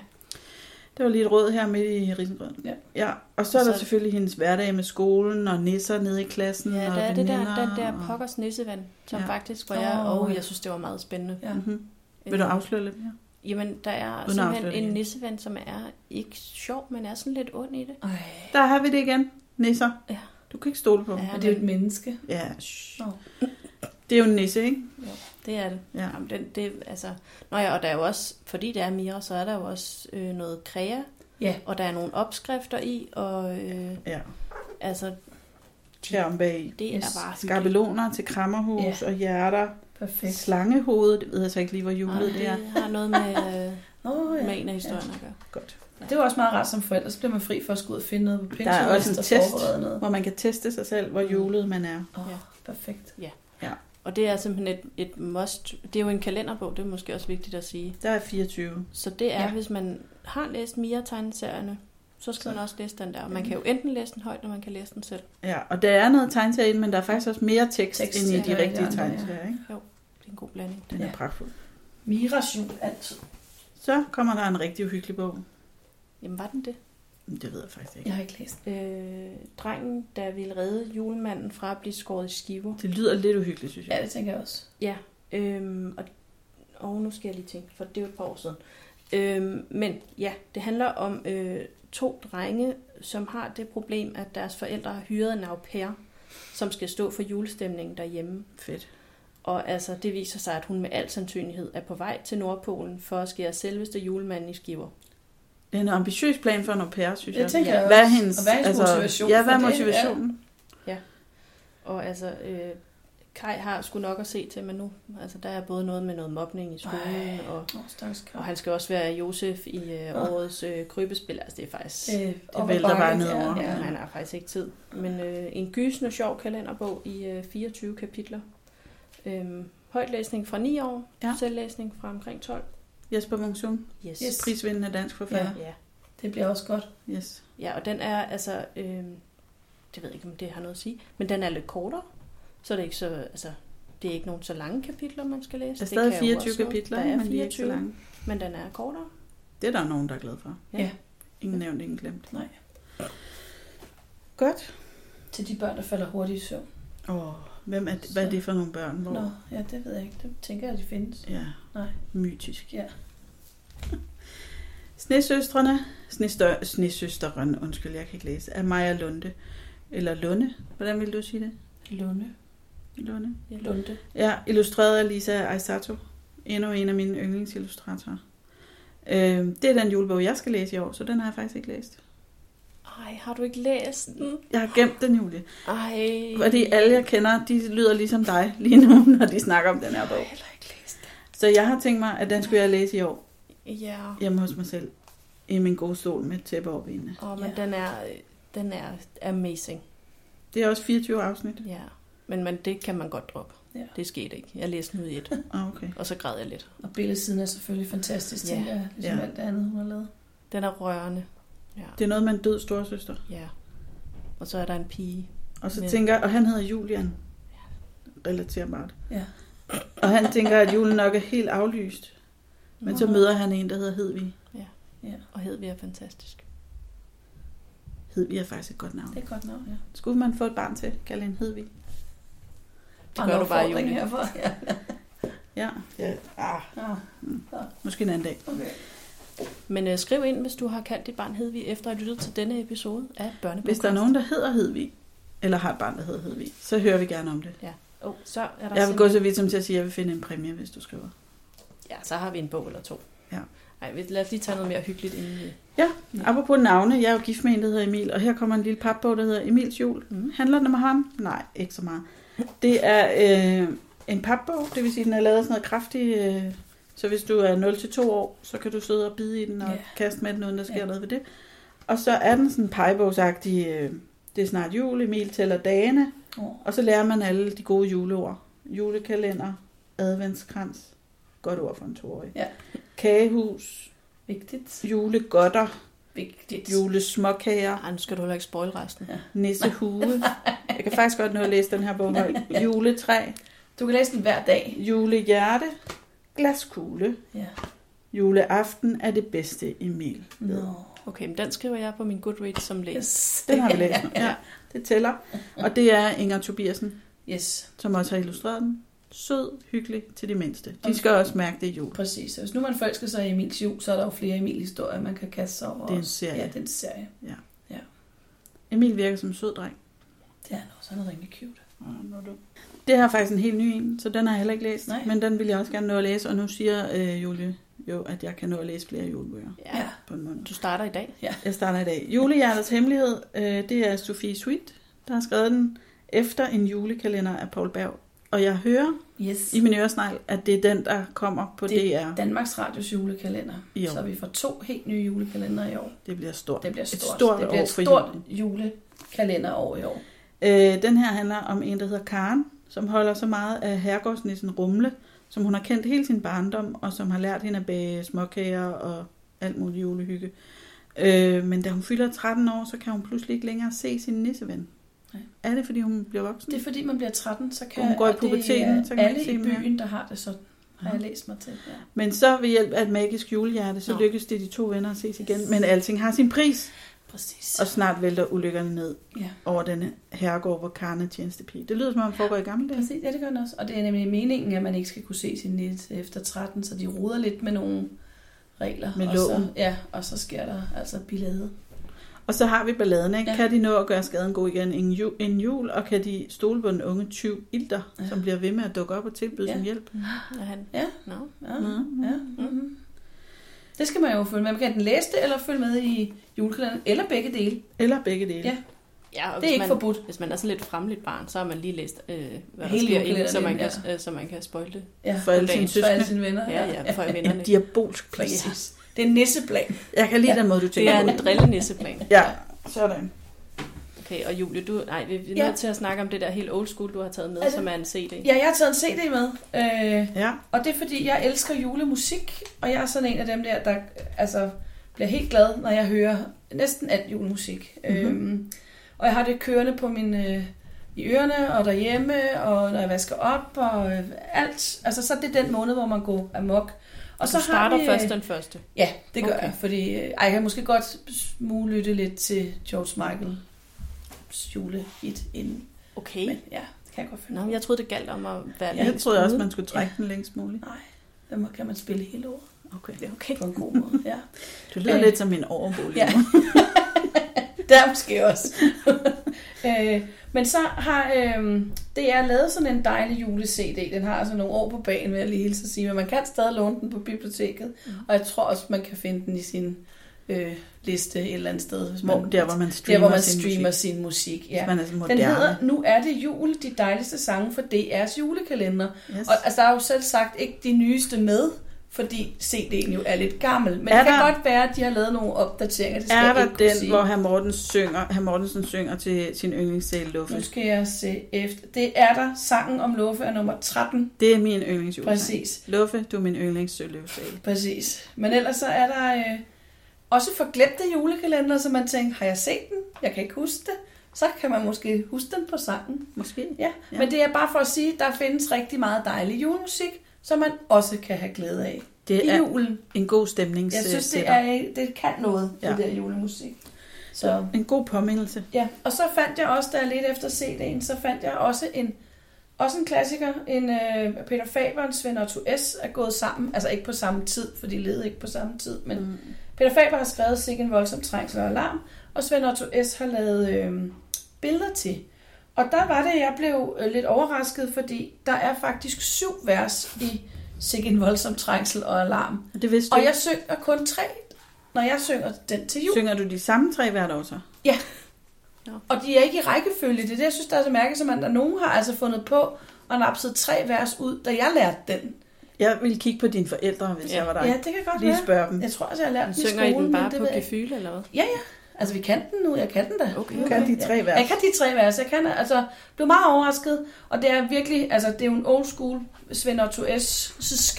Speaker 1: Det var lige et råd her midt i risengrød.
Speaker 3: Ja.
Speaker 1: ja. Og så er
Speaker 2: Og så-
Speaker 1: der selvfølgelig hendes hverdag med skolen og nisser nede i klassen.
Speaker 2: ja,
Speaker 1: og
Speaker 2: der er det der,
Speaker 1: veninder
Speaker 2: der, der
Speaker 1: og-
Speaker 2: pokkers nissevand, som
Speaker 1: Ja.
Speaker 2: ja. faktisk, hvor jeg,
Speaker 3: Åh,
Speaker 2: og
Speaker 3: ja.
Speaker 2: jeg synes, det var meget spændende. Øhm,
Speaker 3: Ja.
Speaker 1: Mhm. Vil du afsløre lidt mere?
Speaker 2: Jamen, der er
Speaker 1: at afsløre det
Speaker 2: simpelthen en
Speaker 1: igen.
Speaker 2: nissevand, som er ikke sjov, men er sådan lidt ond i det.
Speaker 3: Ej.
Speaker 1: Der har vi det igen. Nisser.
Speaker 2: Ja.
Speaker 1: Du kan ikke stole på dem.
Speaker 2: Ja,
Speaker 3: Men det er jo et menneske.
Speaker 1: Ja. shh.
Speaker 3: Nå.
Speaker 1: Det er jo en nisse, ikke?
Speaker 2: Det er det.
Speaker 1: Ja.
Speaker 2: Jamen, det, det altså, nå ja, og der er jo også, fordi det er Mira, så er der jo også øh, noget krea,
Speaker 3: Ja.
Speaker 2: og der er nogle opskrifter i, og øh,
Speaker 1: Ja.
Speaker 2: altså,
Speaker 1: Her om bag.
Speaker 2: det
Speaker 3: Yes.
Speaker 2: yes. er bare hyggeligt.
Speaker 1: Skabeloner til krammerhus og hjerter.
Speaker 3: Perfekt.
Speaker 1: Slangehovedet. Det ved jeg så ikke lige, hvor julet
Speaker 2: Ej,
Speaker 1: det er.
Speaker 2: det har noget med, øh,
Speaker 3: Nå, ja.
Speaker 2: med en af historierne at gøre.
Speaker 1: Godt.
Speaker 3: Det var også meget rart som forældre, så bliver man fri for at skulle ud og finde noget på Pinterest
Speaker 1: også en
Speaker 3: og
Speaker 1: test.
Speaker 3: forberede noget.
Speaker 1: Hvor man kan teste sig selv, hvor julet man er.
Speaker 3: Åh,
Speaker 2: Ja.
Speaker 3: perfekt.
Speaker 2: Og det er simpelthen et, et must. Det er jo en kalenderbog, det er måske også vigtigt at sige.
Speaker 1: Der er 24.
Speaker 2: Så det er,
Speaker 3: Ja.
Speaker 2: ja. hvis man har læst Mia-tegneserierne, så skal man også læse den der. Og man kan jo enten læse den højt, eller man kan læse den selv.
Speaker 1: Ja, og der er noget tegneserie i den, men der er faktisk også mere tekst,
Speaker 3: Tekst,
Speaker 1: tekst end i
Speaker 3: ja,
Speaker 1: de
Speaker 3: ja,
Speaker 1: rigtige
Speaker 3: ja, ja.
Speaker 1: tegneserier. Ikke?
Speaker 2: Det er en god blanding.
Speaker 1: Den er
Speaker 3: Ja.
Speaker 1: pragtfuld.
Speaker 3: Miras jul altid.
Speaker 1: Så kommer der en rigtig uhyggelig bog.
Speaker 2: Jamen, var den det?
Speaker 1: Men Det ved jeg faktisk ikke.
Speaker 3: Jeg har ikke læst den.
Speaker 2: Øh, drengen, der ville redde julemanden fra at blive skåret i skiver.
Speaker 1: Det lyder lidt uhyggeligt, synes jeg.
Speaker 3: Ja, det tænker jeg også.
Speaker 2: Øhm, og, og nu skal jeg lige tænke, for det er jo et par år siden. Øhm, men ja, det handler om øh, to drenge, som har det problem, at deres forældre har hyret en au pair, som skal stå for julestemningen derhjemme.
Speaker 1: Fedt.
Speaker 2: Og altså, det viser sig, at hun med al sandsynlighed er på vej til Nordpolen for at skære selveste julemanden i skiver.
Speaker 1: Det er en ambitiøs plan for en au pair, synes jeg.
Speaker 3: Det tænker jeg
Speaker 1: Hvad er
Speaker 3: også.
Speaker 1: hendes, altså,
Speaker 3: Og hvad er hendes motivation
Speaker 1: Ja, hvad
Speaker 3: for
Speaker 1: er
Speaker 3: det?
Speaker 1: motivationen?
Speaker 2: Og altså, øh, Kai har sgu nok at se til, men nu, altså, der er både noget med noget mobning i skolen,
Speaker 3: Ej.
Speaker 2: og,
Speaker 3: Åh, stakkels
Speaker 2: og han skal også være Josef i øh,
Speaker 3: Nå. Øh,
Speaker 2: årets øh, krybespil. Altså, det er faktisk...
Speaker 1: det vælter bare nedover.
Speaker 2: Ja,
Speaker 3: Ja,
Speaker 2: han har faktisk ikke tid. Men øh, en gysende sjov kalenderbog i øh, 24 kapitler. Øhm, højtlæsning fra 9 år,
Speaker 1: Ja.
Speaker 2: ja. selvlæsning fra omkring 12.
Speaker 1: Jesper Mungsum,
Speaker 2: Yes.
Speaker 3: Yes.
Speaker 1: prisvindende dansk forfatter.
Speaker 2: Ja.
Speaker 3: det bliver også godt.
Speaker 1: Ja. Yes.
Speaker 2: ja, og den er altså, øh, det ved jeg ikke, om det har noget at sige, men den er lidt kortere, så det er ikke så, altså, det er ikke nogen så lange kapitler, man skal læse.
Speaker 1: Der er
Speaker 2: Det
Speaker 1: stadig
Speaker 2: kan jo
Speaker 1: 24
Speaker 2: også noget.
Speaker 1: kapitler,
Speaker 2: der er
Speaker 1: men de er ikke så
Speaker 2: 24,
Speaker 1: lange.
Speaker 2: men den er kortere.
Speaker 1: Det er der nogen, der er glad for.
Speaker 2: Ja.
Speaker 1: Ingen nævnt, ingen glemt.
Speaker 3: Nej.
Speaker 1: Godt.
Speaker 3: Til de børn, der falder hurtigt i søvn.
Speaker 1: Åh, hvem er, hvad er det for nogle børn? Hvor?
Speaker 3: Nå, ja, det ved jeg ikke. Det tænker jeg, de findes.
Speaker 1: Ja.
Speaker 3: Nej.
Speaker 1: Mytisk.
Speaker 3: Ja.
Speaker 1: Snesøstrene, Snestø- Snesøsteren, undskyld, jeg kan ikke læse, af Maja Lunde. Eller Lunde, hvordan vil du sige det?
Speaker 3: Lunde.
Speaker 1: Lunde.
Speaker 2: Ja.
Speaker 3: Lunde.
Speaker 1: Ja, illustreret af Lisa Aisato. Endnu en af mine yndlingsillustratorer. Øh, det er den julebog, jeg skal læse i år, så den har jeg faktisk ikke læst.
Speaker 2: Ej, har du ikke læst den?
Speaker 1: Jeg har gemt den, Julie.
Speaker 2: Ej.
Speaker 1: Fordi alle, jeg kender, de lyder ligesom dig lige nu, når de snakker om den her
Speaker 3: Jeg
Speaker 1: bog.
Speaker 3: har heller ikke læst den.
Speaker 1: Så jeg har tænkt mig, at den skulle jeg læse i år
Speaker 2: Ja.
Speaker 1: hjemme hos mig selv. I min gode stol med et tæppe over benene.
Speaker 2: Åh, men
Speaker 3: Ja.
Speaker 2: den er, den er amazing.
Speaker 1: Det er også 24 afsnit.
Speaker 2: Ja, men man, det kan man godt droppe.
Speaker 3: Ja.
Speaker 2: Det skete ikke. Jeg læste den ud i et,
Speaker 1: Ah, okay.
Speaker 2: og så græd jeg lidt.
Speaker 3: Og billedsiden er selvfølgelig fantastisk,
Speaker 2: Ja.
Speaker 3: tænker jeg. Ligesom
Speaker 1: Ja.
Speaker 3: alt det andet, hun har lavet.
Speaker 2: Den er rørende. Ja.
Speaker 1: Det er noget med en død storesøster.
Speaker 2: ja. Og så er der en pige.
Speaker 1: Og så
Speaker 2: Men-
Speaker 1: tænker, og han hedder Julian. Relaterbart.
Speaker 3: Ja.
Speaker 1: Og han tænker, at julen nok er helt aflyst. Men så møder han en, der hedder Hedvig.
Speaker 2: Og Hedvig er fantastisk.
Speaker 1: Hedvig er faktisk et godt navn.
Speaker 3: Det er et godt navn, ja.
Speaker 1: Skulle man få et barn til, kalde en Hedvig?
Speaker 2: Det gør du bare, Julie.
Speaker 3: Herfor. Ja.
Speaker 1: Ja. ja. Ah,
Speaker 3: Ah,
Speaker 1: måske en anden dag.
Speaker 3: okay.
Speaker 2: Men øh, skriv ind, hvis du har kaldt dit barn Hedvig, efter at have lyttet til denne episode af Børnebogkast.
Speaker 1: Hvis der er nogen, der hedder Hedvig, eller har et barn, der hedder Hedvig, så hører vi gerne om det.
Speaker 2: Oh, så er der
Speaker 1: Jeg vil gå
Speaker 2: simpelthen-
Speaker 1: så vidt som til at sige, at jeg vil finde en præmie, hvis du skriver.
Speaker 2: Ja, så har vi en bog eller to.
Speaker 1: Ja.
Speaker 2: Ej, vi- lad os lige tage noget mere hyggeligt inden vi...
Speaker 1: Ja. Apropos navne, jeg er jo gift med en, der hedder Emil, og her kommer en lille papbog, der hedder Emils jul.
Speaker 2: Mm.
Speaker 1: Handler den om ham? Nej, ikke så meget. Det er øh, en papbog, det vil sige, den er lavet af sådan noget kraftigt, øh, så hvis du er 0-2 år, så kan du sidde og bide i den og
Speaker 3: Ja.
Speaker 1: kaste med den, uden der sker
Speaker 3: Ja.
Speaker 1: noget ved det. Og så er den sådan pegebogsagtig, øh, det er snart jul, Emil tæller dagene,
Speaker 3: Oh,
Speaker 1: og så lærer man alle de gode juleord. Julekalender, adventskrans, godt ord for en toårig.
Speaker 3: Ja.
Speaker 1: Kagehus,
Speaker 3: vigtigt.
Speaker 1: julegodter,
Speaker 3: Vigtigt.
Speaker 1: julesmåkager,
Speaker 2: Ej, nu skal du heller ikke spoil resten.
Speaker 1: nissehue. Jeg kan faktisk godt nå at læse den her bog. højt. Juletræ,
Speaker 3: Du kan læse den hver dag.
Speaker 1: julehjerte, glaskugle,
Speaker 3: Ja.
Speaker 1: juleaften er det bedste, Emil.
Speaker 3: Nå.
Speaker 2: Okay, men den skriver jeg på min Goodreads som læs.
Speaker 3: Yes.
Speaker 1: Den har vi læst nu. Ja, det tæller. Og det er Inger Tobiasen,
Speaker 3: Yes,
Speaker 1: som også har illustreret den. Sød, hyggelig til de mindste. De skal også mærke det i jul.
Speaker 3: præcis. Så hvis nu man forelsker sig i Emils jul, så er der jo flere Emil-historier, man kan kaste sig over.
Speaker 1: Det er en
Speaker 3: også.
Speaker 1: serie.
Speaker 3: Ja, det er en serie.
Speaker 1: Emil virker som en sød dreng.
Speaker 3: Det er han også. Han er rimelig cute.
Speaker 1: Det her er faktisk en helt ny en, så den har jeg heller ikke læst.
Speaker 3: Nej.
Speaker 1: Men den vil jeg også gerne nå at læse, og nu siger øh, Julie jo, at jeg kan nå at læse flere julebøger
Speaker 2: Ja. ja.
Speaker 1: på en måned.
Speaker 2: Du starter i dag.
Speaker 1: Jeg starter i dag. Julehjertets hemmelighed, øh, det er Sofie Sweet, der har skrevet den efter en julekalender af Paul Berg. Og jeg hører
Speaker 3: Yes.
Speaker 1: i min øresnegl, at det er den, der kommer på det,
Speaker 3: Det-
Speaker 1: DR.
Speaker 3: Danmarks Radios julekalender.
Speaker 1: Jo.
Speaker 3: Så vi får to helt nye julekalender i år.
Speaker 1: Det bliver stort.
Speaker 3: Det bliver
Speaker 1: Et
Speaker 3: stort.
Speaker 1: stort
Speaker 3: det bliver
Speaker 1: år
Speaker 3: et
Speaker 1: for
Speaker 3: stort
Speaker 1: julen.
Speaker 3: julekalenderår i år.
Speaker 1: Øh, den her handler om en, der hedder Karen, som holder så meget af herregårdsnissen Rumle, som hun har kendt hele sin barndom, og som har lært hende at bage småkager og alt muligt julehygge. Øh, men da hun fylder 13 år, så kan hun pludselig ikke længere se sin nisseven.
Speaker 3: Nej.
Speaker 1: Er det, fordi hun bliver voksen?
Speaker 3: Det er fordi, man bliver 13, så kan
Speaker 1: Hun går i
Speaker 3: og det er
Speaker 1: puberteten, så kan man
Speaker 3: alle
Speaker 1: ikke se
Speaker 3: i
Speaker 1: dem mere.
Speaker 3: byen, der har det sådan, har
Speaker 1: Nå.
Speaker 3: jeg læst mig til. Ja.
Speaker 1: Men så ved hjælp af et magisk julehjerte, så
Speaker 2: Nå.
Speaker 1: lykkes det de to venner at ses igen.
Speaker 3: Yes.
Speaker 1: Men alting har sin pris,
Speaker 3: Præcis.
Speaker 1: og snart vælter ulykkerne ned
Speaker 3: Ja.
Speaker 1: over denne herregård, hvor Karen er tjenestepige. Det lyder som om, det foregår i gamle dage.
Speaker 3: Præcis, ja, det gør den også. Og det er nemlig meningen, at man ikke skal kunne se sin net efter 13, så de ruder lidt med nogle regler.
Speaker 1: Med
Speaker 3: og
Speaker 1: loven.
Speaker 3: Så, ja, og så sker der altså billede.
Speaker 1: Og så har vi balladen, ikke? Ja.
Speaker 3: Ja.
Speaker 1: Kan de nå at gøre skaden god igen inden jul, inden jul og kan de stole på den unge tyv Ilter, ja.
Speaker 3: Ja.
Speaker 1: som bliver ved med at dukke op og tilbyde ja.
Speaker 3: Ja.
Speaker 1: sin hjælp?
Speaker 2: Når han...
Speaker 3: Ja.
Speaker 2: Nå.
Speaker 3: Ja.
Speaker 1: Mhm.
Speaker 3: ja. Mm-hmm. Det skal man jo følge med. Man kan enten læse det, eller følge med i julekalenderen, eller begge dele.
Speaker 1: Eller begge dele.
Speaker 3: Ja.
Speaker 2: Ja, og
Speaker 3: Det er
Speaker 2: hvis
Speaker 3: ikke
Speaker 2: man,
Speaker 3: forbudt.
Speaker 2: Hvis man er sådan lidt fremligt barn, så har man lige læst, øh, hvad der
Speaker 3: Hele
Speaker 2: sker inden, så man, kan,
Speaker 3: julekalenderen,
Speaker 2: øh, så man kan spoile det.
Speaker 3: Ja.
Speaker 1: For alle
Speaker 2: Dagens
Speaker 1: sine
Speaker 3: For alle
Speaker 1: søskende.
Speaker 3: sine venner.
Speaker 2: Ja, ja, for vennerne.
Speaker 1: En diabolsk plan.
Speaker 3: Præcis. Det er nisseblag.
Speaker 1: Jeg kan lide
Speaker 3: Ja.
Speaker 1: den måde, du
Speaker 2: Det
Speaker 1: tænker
Speaker 2: er
Speaker 1: på
Speaker 2: en drillenisseplan.
Speaker 1: det. Ja, sådan.
Speaker 2: Okay, og Julie, du, nej, vi vi er
Speaker 3: Ja.
Speaker 2: nødt til at snakke om det der helt old school, du har taget med,
Speaker 3: Altså-
Speaker 2: som er en CD.
Speaker 3: Ja, jeg har taget en CD med. Øh,
Speaker 1: Ja.
Speaker 3: Og det er fordi, jeg elsker julemusik, og jeg er sådan en af dem der, der altså, bliver helt glad, når jeg hører næsten alt julemusik.
Speaker 1: Mhm.
Speaker 3: Mm-hmm. Øhm, og jeg har det kørende på min, øh, i ørerne og derhjemme, og når jeg vasker op og øh, alt. Altså, så er det den måned, hvor man går amok.
Speaker 2: Og så du starter vi... først den første.
Speaker 3: Ja, øh, det gør
Speaker 2: Okay.
Speaker 3: okay. jeg, fordi øh, ej, jeg kan måske godt smuglytte lidt til George Michael julehit inden.
Speaker 2: Okay.
Speaker 3: Men ja, det kan jeg godt finde.
Speaker 2: Nå, men jeg troede, det galt om at være
Speaker 1: Jeg
Speaker 2: lidt
Speaker 1: troede også,
Speaker 2: ude.
Speaker 1: man skulle trække den længst muligt.
Speaker 3: Den må- kan man spille hele året
Speaker 1: Okay.
Speaker 2: Ja, Okay.
Speaker 3: på en god måde. Ja.
Speaker 1: Det lyder
Speaker 3: Øh.
Speaker 1: lidt som en overbolig.
Speaker 3: Ja. Der er måske også. øh, men så har øh, DR lavet sådan en dejlig jule-CD. Den har altså nogle år på bagen, vil jeg lige hilse at sige. Men man kan stadig låne den på biblioteket.
Speaker 2: Mm.
Speaker 3: Og jeg tror også, man kan finde den i sin øh, liste et eller andet sted. Hvis man,
Speaker 1: Hvor, der, hvor man
Speaker 3: der,
Speaker 1: streamer,
Speaker 3: hvor man
Speaker 1: sin
Speaker 3: streamer
Speaker 1: musik.
Speaker 3: sin musik.
Speaker 1: Hvis
Speaker 3: Ja.
Speaker 1: man er så
Speaker 3: Den
Speaker 1: moderne.
Speaker 3: hedder Nu er det jul, de dejligste sange for DR's julekalender.
Speaker 1: yes.
Speaker 3: Og altså, der er jo selv sagt ikke de nyeste med, fordi CD'en jo er lidt gammel. Men
Speaker 1: Er
Speaker 3: det kan
Speaker 1: der-
Speaker 3: godt være, at de har lavet nogle opdateringer. Det skal
Speaker 1: er
Speaker 3: jeg
Speaker 1: der
Speaker 3: ikke kunne
Speaker 1: den,
Speaker 3: sige.
Speaker 1: hvor herr Mortensen synger, herr Mortensen synger til sin yndlingssæl Luffe?
Speaker 3: Nu skal jeg se efter. Det er der. Sangen om Luffe er nummer 13.
Speaker 1: Det er min yndlingsjulesang.
Speaker 3: Præcis.
Speaker 1: Luffe, du er min yndlingssøløvsæl.
Speaker 3: Præcis. Men ellers så er der øh, også forglemte julekalender, så man tænker, har jeg set den? Jeg kan ikke huske det. Så kan man måske huske den på sangen.
Speaker 1: Måske.
Speaker 3: Ja,
Speaker 1: Ja.
Speaker 3: ja. men det er bare for at sige, at der findes rigtig meget dejlig julemusik, som man også kan have glæde af
Speaker 1: Det
Speaker 3: i
Speaker 1: er
Speaker 3: julen.
Speaker 1: en god stemnings.
Speaker 3: Jeg synes, det,
Speaker 1: sætter.
Speaker 3: er, det kan noget,
Speaker 1: Ja.
Speaker 3: ja. det der julemusik. Så.
Speaker 1: en god påmindelse.
Speaker 3: Ja, og så fandt jeg også, da jeg ledte efter CD'en, så fandt jeg også en, også en klassiker, en øh, Peter Faber og Svend Otto S. er gået sammen, altså ikke på samme tid, for de levede ikke på samme tid, men mm.
Speaker 1: Mm.
Speaker 3: Peter Faber har skrevet Sikke en voldsom trængsel og alarm, og Svend Otto S. har lavet øh, billeder til. Og der var det, jeg blev øh, lidt overrasket, fordi der er faktisk syv vers i Sikke en voldsom trængsel og alarm.
Speaker 1: Og Det vidste
Speaker 3: Og
Speaker 1: du.
Speaker 3: jeg synger kun tre, når jeg synger den til jul.
Speaker 1: Synger du de samme tre hvert år så?
Speaker 3: Og de er ikke i rækkefølge. Det er det, jeg synes, der er så mærkeligt, at der nogen har altså fundet på og napset tre vers ud, da jeg lærte den.
Speaker 1: Jeg ville kigge på dine forældre, hvis
Speaker 2: Ja.
Speaker 1: jeg var dig.
Speaker 3: Ja, det kan godt
Speaker 1: Lige
Speaker 3: være.
Speaker 1: spørge dem.
Speaker 3: Jeg tror også, jeg har lært den i
Speaker 2: Synger I
Speaker 3: skolen,
Speaker 2: den bare
Speaker 3: men det
Speaker 2: på
Speaker 3: ved jeg ikke.
Speaker 2: gefyle, eller hvad?
Speaker 3: Altså, vi kan den nu. Jeg kan den da.
Speaker 2: Okay.
Speaker 1: Kan de tre
Speaker 3: Ja.
Speaker 1: hvert?
Speaker 3: Jeg kan de tre vers. Jeg kan altså blev meget overrasket, og det er virkelig, altså det er jo en old school Svend Otto S.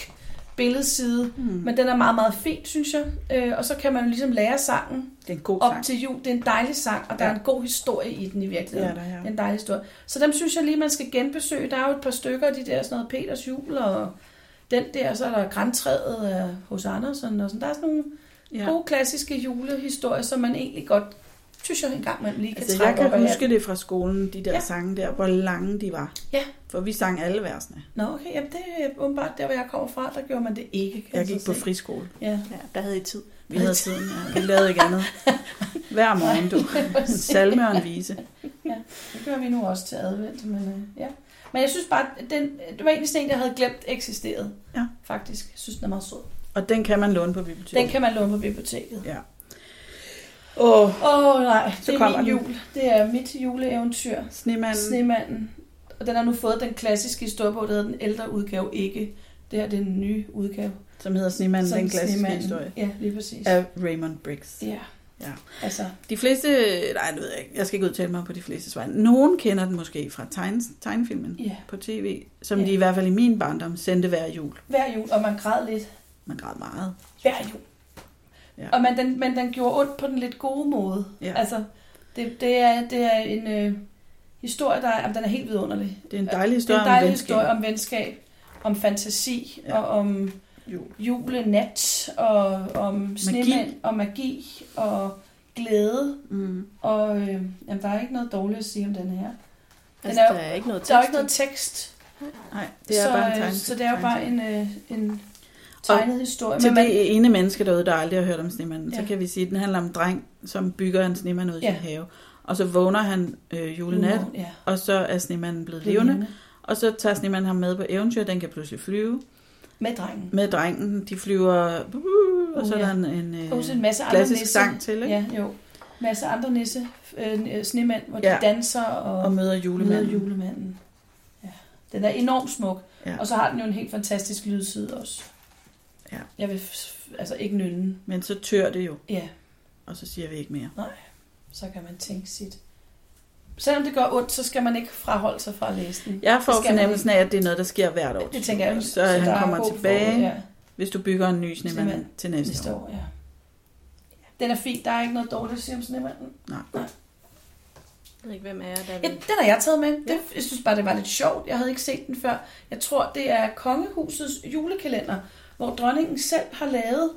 Speaker 3: billedside,
Speaker 1: Mm.
Speaker 3: men den er meget, meget fin, synes jeg. Øh, og så kan man jo ligesom lære sangen
Speaker 1: Det er en god
Speaker 3: op
Speaker 1: sang.
Speaker 3: til jul. Det er en dejlig sang, og der er en god historie i den i
Speaker 1: Det
Speaker 3: virkeligheden.
Speaker 1: er der her.
Speaker 3: Det er en dejlig historie. Så dem synes jeg lige, man skal genbesøge. Der er jo et par stykker af de der, sådan noget Peters jul og den der, så er der Grantræet af hos Andersen og sådan. Der er sådan nogle
Speaker 1: Ja.
Speaker 3: ja. gode klassiske julehistorier, som man egentlig godt, synes jeg engang, man lige kan
Speaker 1: Altså, jeg
Speaker 3: trække
Speaker 1: kan
Speaker 3: op af
Speaker 1: huske det fra skolen, de der
Speaker 3: Ja.
Speaker 1: sange der, hvor lange de var.
Speaker 3: Ja.
Speaker 1: For vi sang alle versene.
Speaker 3: hatten. Nå, okay, jamen det er åbenbart der, hvor jeg kommer fra, der gjorde man det ikke. Kan
Speaker 1: Jeg
Speaker 3: så
Speaker 1: gik på
Speaker 3: se.
Speaker 1: friskole.
Speaker 3: Ja,
Speaker 2: Ja, der havde I tid.
Speaker 1: Vi havde tiden, ja. Vi lavede ikke andet. Hver morgen, du. En salme og en vise.
Speaker 3: det gør vi nu også til advent, men øh, ja. Men jeg synes bare, at den, det var egentlig sådan en, jeg havde glemt eksisterede,
Speaker 1: Ja.
Speaker 3: faktisk. Jeg synes, den er meget sød.
Speaker 1: Og den kan man låne på biblioteket.
Speaker 3: Den kan man låne på biblioteket.
Speaker 1: Åh,
Speaker 3: Åh oh, nej,
Speaker 1: Så
Speaker 3: så det
Speaker 1: kommer
Speaker 3: er min
Speaker 1: den.
Speaker 3: jul. Det er mit juleeventyr.
Speaker 1: snemanden.
Speaker 3: Snemanden. Og den har nu fået den klassiske historie på, der hedder den ældre udgave ikke. Det her det er den nye udgave.
Speaker 1: Som hedder Snemanden,
Speaker 3: Som
Speaker 1: den klassiske
Speaker 3: Snemanden.
Speaker 1: historie.
Speaker 3: Ja, lige præcis.
Speaker 1: Af Raymond Briggs.
Speaker 3: Ja.
Speaker 1: Ja.
Speaker 3: Altså,
Speaker 1: De fleste, nej, det ved jeg ikke. Jeg skal ikke udtale mig på de fleste vegne. Nogen kender den måske fra tegne, tegnefilmen
Speaker 3: ja.
Speaker 1: på tv, som
Speaker 3: Ja.
Speaker 1: de i hvert fald i min barndom sendte hver jul.
Speaker 3: Hver jul, og man græd lidt.
Speaker 1: Man græd meget.
Speaker 3: Hver jul.
Speaker 1: Ja.
Speaker 3: Og men den, men den gjorde ondt på den lidt gode måde.
Speaker 1: Ja.
Speaker 3: Altså, det, det, er, det er en øh, historie, der er, jamen, den er helt vidunderlig.
Speaker 1: Det er en dejlig
Speaker 3: Det er
Speaker 1: historie
Speaker 3: en dejlig
Speaker 1: om venskab.
Speaker 3: historie om venskab, om fantasi
Speaker 1: Ja.
Speaker 3: ja. og om
Speaker 1: Jul.
Speaker 3: julenat og om snemænd magi. og magi og glæde.
Speaker 1: Mm.
Speaker 3: Og øh, jamen, der er ikke noget dårligt at sige om den her.
Speaker 2: Altså,
Speaker 3: er jo-
Speaker 2: der er ikke noget
Speaker 3: Der er jo ikke
Speaker 2: tekst i.
Speaker 3: noget tekst,
Speaker 1: Nej, det er
Speaker 3: så,
Speaker 1: bare en
Speaker 3: øh,
Speaker 1: tegn.
Speaker 3: så det er jo bare en, øh, en
Speaker 1: Og
Speaker 3: tegnet historie.
Speaker 1: Til
Speaker 3: Men man,
Speaker 1: det ene menneske derude, der aldrig har hørt om snemanden, ja. så
Speaker 3: Ja.
Speaker 1: kan vi sige, at den handler om en dreng, som bygger en snemand ud i
Speaker 3: Ja.
Speaker 1: sin have. Og så vågner han øh, julenat,
Speaker 3: ja,
Speaker 1: og så er snemanden blevet levende. Og så tager snemanden ham med på eventyr, den kan pludselig flyve.
Speaker 3: Med drengen.
Speaker 1: Med drengen, de flyver, uh, og så er
Speaker 3: Uh,
Speaker 1: der
Speaker 3: ja.
Speaker 1: en, en øh,
Speaker 3: Og så en masse andre
Speaker 1: klassisk
Speaker 3: nisse.
Speaker 1: sang til, ikke?
Speaker 3: Ja, jo. Masse andre nisse, øh, øh, snemænd, hvor de
Speaker 1: Ja.
Speaker 3: danser og,
Speaker 1: og møder
Speaker 3: julemanden.
Speaker 1: julemanden.
Speaker 3: julemanden. Ja. Den er enormt smuk,
Speaker 1: Ja.
Speaker 3: og så har den jo en helt fantastisk lydside også.
Speaker 1: Ja.
Speaker 3: Jeg vil f- altså ikke nynne.
Speaker 1: Men så tør det jo,
Speaker 3: Ja,
Speaker 1: og så siger vi ikke mere.
Speaker 3: så kan man tænke sit. Selvom det gør ondt, så skal man ikke fraholde sig fra at læse den.
Speaker 1: Jeg får
Speaker 3: Det skal man
Speaker 1: fornemmelsen af, at det er noget, der sker hvert år.
Speaker 3: Det tænker jeg også.
Speaker 1: Så, så
Speaker 3: der
Speaker 1: han
Speaker 3: er
Speaker 1: kommer
Speaker 3: håb for
Speaker 1: tilbage,
Speaker 3: året, ja,
Speaker 1: hvis du bygger en ny snemand
Speaker 3: Snemand.
Speaker 1: til næste,
Speaker 3: næste
Speaker 1: år.
Speaker 3: år. Ja. Den er fin. Der er ikke noget dårligt at sige om snemanden.
Speaker 2: Jeg ved ikke, hvem er jeg, der
Speaker 3: Ja,
Speaker 2: vil...
Speaker 3: den har jeg taget med. Det, jeg synes bare, det var lidt sjovt. Jeg havde ikke set den før. Jeg tror, det er kongehusets julekalender, hvor dronningen selv har lavet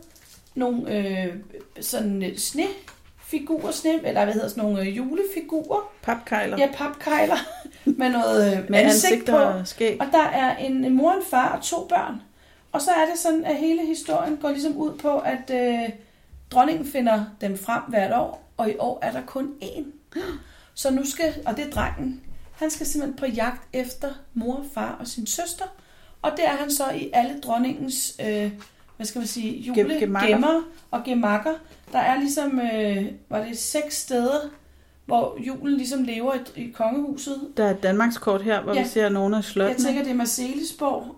Speaker 3: nogle øh, sådan øh, snefigurer, sne, eller hvad hedder sådan nogle øh, julefigurer.
Speaker 1: Papkejler
Speaker 3: Ja, papkejler med noget øh,
Speaker 1: med
Speaker 3: ansigt,
Speaker 1: ansigt
Speaker 3: på.
Speaker 1: og skæg.
Speaker 3: Og der er en, en mor, en far og to børn. Og så er det sådan, at hele historien går ligesom ud på, at øh, dronningen finder dem frem hvert år, og i år er der kun én. Så nu skal, og det er drengen, han skal simpelthen på jagt efter mor, far og sin søster. Og det er han så i alle dronningens, øh, hvad skal man sige,
Speaker 1: Gem- gemakker.
Speaker 3: julegemmer og gemakker. Der er ligesom, øh, var det seks steder, hvor julen ligesom lever i, i kongehuset,
Speaker 1: Der er et Danmarks kort her, hvor ja.
Speaker 3: Ja.
Speaker 1: vi ser nogle af
Speaker 3: jeg
Speaker 1: slottene.
Speaker 3: tænker, det er Marcelisborg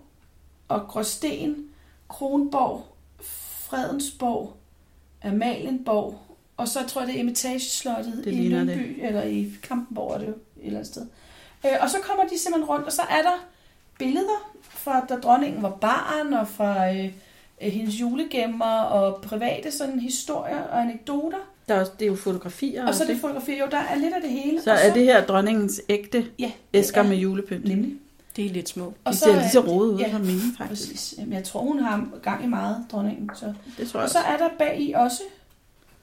Speaker 3: og Gråsten, Kronborg, Fredensborg, Amalienborg, og så tror jeg, det er Imitageslottet
Speaker 1: Det
Speaker 3: i
Speaker 1: ligner
Speaker 3: Lyngby, det. eller i Kampenborg er det jo et eller andet sted. Øh, og så kommer de simpelthen rundt, og så er der billeder fra, da dronningen var barn, og fra øh, øh, hendes julegemmer, og private sådan historier og anekdoter.
Speaker 1: Der er også, det er jo fotografier.
Speaker 3: Og så er
Speaker 1: også,
Speaker 3: det fotografier. Jo, der er lidt af det hele.
Speaker 1: ikke? så
Speaker 3: og
Speaker 1: er det her dronningens ægte
Speaker 3: ja,
Speaker 1: æsker
Speaker 3: det er-
Speaker 1: med julepynt.
Speaker 3: Nemlig.
Speaker 2: Det er lidt små.
Speaker 1: Og
Speaker 3: Og
Speaker 1: de
Speaker 3: så
Speaker 1: ser
Speaker 3: er-
Speaker 1: lige så rodet ud
Speaker 3: ja.
Speaker 1: som mine, faktisk.
Speaker 3: Præcis. Jamen, jeg tror, hun har gang i meget, dronningen. Så.
Speaker 1: Det tror jeg
Speaker 3: Og
Speaker 1: også.
Speaker 3: så er der bag i også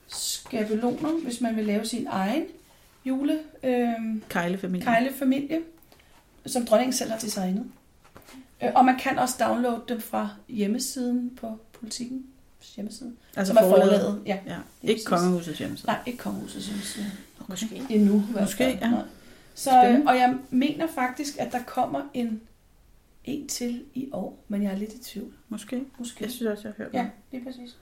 Speaker 3: skabeloner, hvis man vil lave sin egen jule øh,
Speaker 1: Kejlefamilien.
Speaker 3: kejlefamilie, som dronningen selv har designet. Øh, Og man kan også downloade dem fra hjemmesiden på politikken hjemmeside,
Speaker 1: Altså
Speaker 3: som er
Speaker 1: forlaget.
Speaker 3: forlaget. Ja.
Speaker 1: Ja.
Speaker 3: Lige
Speaker 1: Ikke
Speaker 3: præcis.
Speaker 1: kongehusets hjemmeside.
Speaker 3: Nej, ikke kongehusets hjemmeside.
Speaker 2: Måske.
Speaker 3: Endnu. i hvert
Speaker 1: Måske,
Speaker 3: fald.
Speaker 1: ja.
Speaker 3: Nej. Så, øh,
Speaker 1: Spændende.
Speaker 3: og jeg mener faktisk, at der kommer en, en til i år, men jeg er lidt i tvivl.
Speaker 1: Måske.
Speaker 3: Måske.
Speaker 1: Jeg synes også, jeg har hørt
Speaker 3: Ja,
Speaker 1: om.
Speaker 3: lige præcis.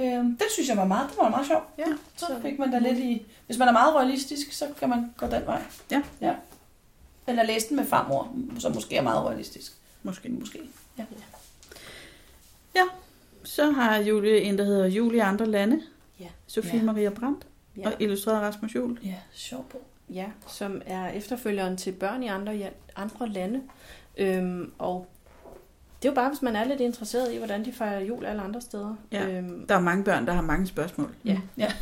Speaker 3: Øhm, det synes jeg var meget, det var meget sjovt.
Speaker 1: Ja.
Speaker 3: Så fik man da lidt i... Hvis man er meget realistisk, så kan man gå den vej.
Speaker 1: Ja.
Speaker 3: ja. Eller læse den med farmor, som måske er meget realistisk.
Speaker 1: Måske.
Speaker 3: Måske. Ja.
Speaker 1: Så har Julie en, der hedder Julie i andre lande.
Speaker 2: Ja.
Speaker 1: Sofie
Speaker 3: Ja.
Speaker 1: Maria Brandt
Speaker 2: Ja.
Speaker 1: og illustreret Rasmus Juhl.
Speaker 3: Ja, sjov bog.
Speaker 2: Ja, som er efterfølgeren til børn i andre, ja- andre lande. Øhm, og det er jo bare, hvis man er lidt interesseret i, hvordan de fejrer jul alle andre steder.
Speaker 1: Ja.
Speaker 2: Øhm,
Speaker 1: Der er mange børn, der har mange spørgsmål.
Speaker 2: Ja.
Speaker 3: Mm. ja.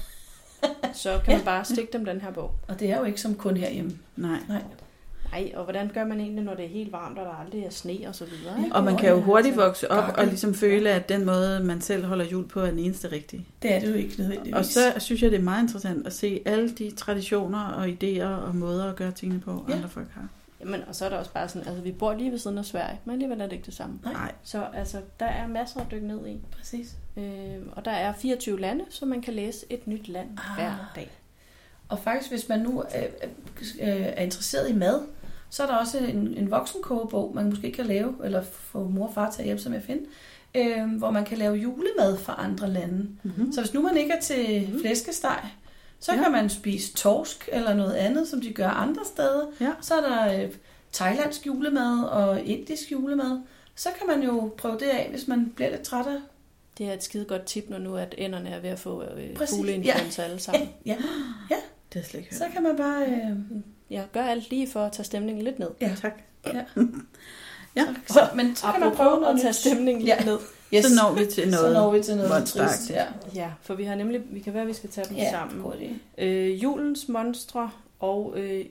Speaker 2: så kan man bare stikke dem den her bog.
Speaker 3: Og det er jo ikke som kun herhjemme.
Speaker 1: Nej.
Speaker 3: Nej.
Speaker 2: Nej, og hvordan gør man egentlig, når det er helt varmt, og der aldrig er sne og så videre? Ikke?
Speaker 1: Og man kan jo hurtigt vokse op
Speaker 3: Gakkede.
Speaker 1: og ligesom føle, at den måde, man selv holder jul på, er den eneste rigtige.
Speaker 3: Det er det jo ikke nødvendigvis.
Speaker 1: Og så synes jeg, det er meget interessant at se alle de traditioner og idéer og måder at gøre tingene på, ja.
Speaker 3: Ja.
Speaker 1: andre folk har.
Speaker 2: Jamen, og så er der også bare sådan, altså vi bor lige ved siden af Sverige, men alligevel er det ikke det samme.
Speaker 3: Nej.
Speaker 1: Nej.
Speaker 2: Så altså, der er masser at dykke ned i.
Speaker 3: Præcis.
Speaker 2: Øhm, og der er 24 lande, så man kan læse et nyt land
Speaker 3: Ah.
Speaker 2: hver dag.
Speaker 3: Og faktisk, hvis man nu øh, øh, er interesseret i mad, så er der også en, en voksenkogebog, man måske kan lave, eller få mor og far til at hjælpe sig med at finde, øh, hvor man kan lave julemad fra andre lande.
Speaker 1: Mm-hmm.
Speaker 3: Så hvis nu man ikke er til
Speaker 2: Mhm.
Speaker 3: flæskesteg, så
Speaker 1: Mm. Ja.
Speaker 3: ja. kan man spise torsk eller noget andet, som de gør andre steder.
Speaker 1: Ja.
Speaker 3: Så er der øh, thailandsk julemad og indisk julemad. Så kan man jo prøve det af, hvis man bliver lidt træt af
Speaker 2: Det er et skide godt tip, når nu at ænderne er ved at få øh,
Speaker 3: Præcis,
Speaker 2: fugleinfluenza alle sammen.
Speaker 3: Ja,
Speaker 1: Det har jeg slet ikke hørt.
Speaker 3: så kan man bare... Øh,
Speaker 2: Ja, gør alt lige for at tage stemningen lidt ned.
Speaker 3: ja.
Speaker 1: Tak.
Speaker 3: Ja.
Speaker 1: Ja.
Speaker 3: Så, men så kan man
Speaker 2: Apropos
Speaker 3: prøve noget
Speaker 2: at tage
Speaker 3: nyt.
Speaker 2: stemningen
Speaker 3: Ja.
Speaker 2: lidt ned.
Speaker 1: Yes. Så når vi til noget.
Speaker 3: Så når vi til noget
Speaker 1: monsteragtigt.
Speaker 3: trist. Ja.
Speaker 2: Ja, for vi har nemlig, vi kan være, at vi skal tage dem
Speaker 3: Ja,
Speaker 2: ja. sammen.
Speaker 3: god idé.
Speaker 2: Øh, julens monstre og, øh,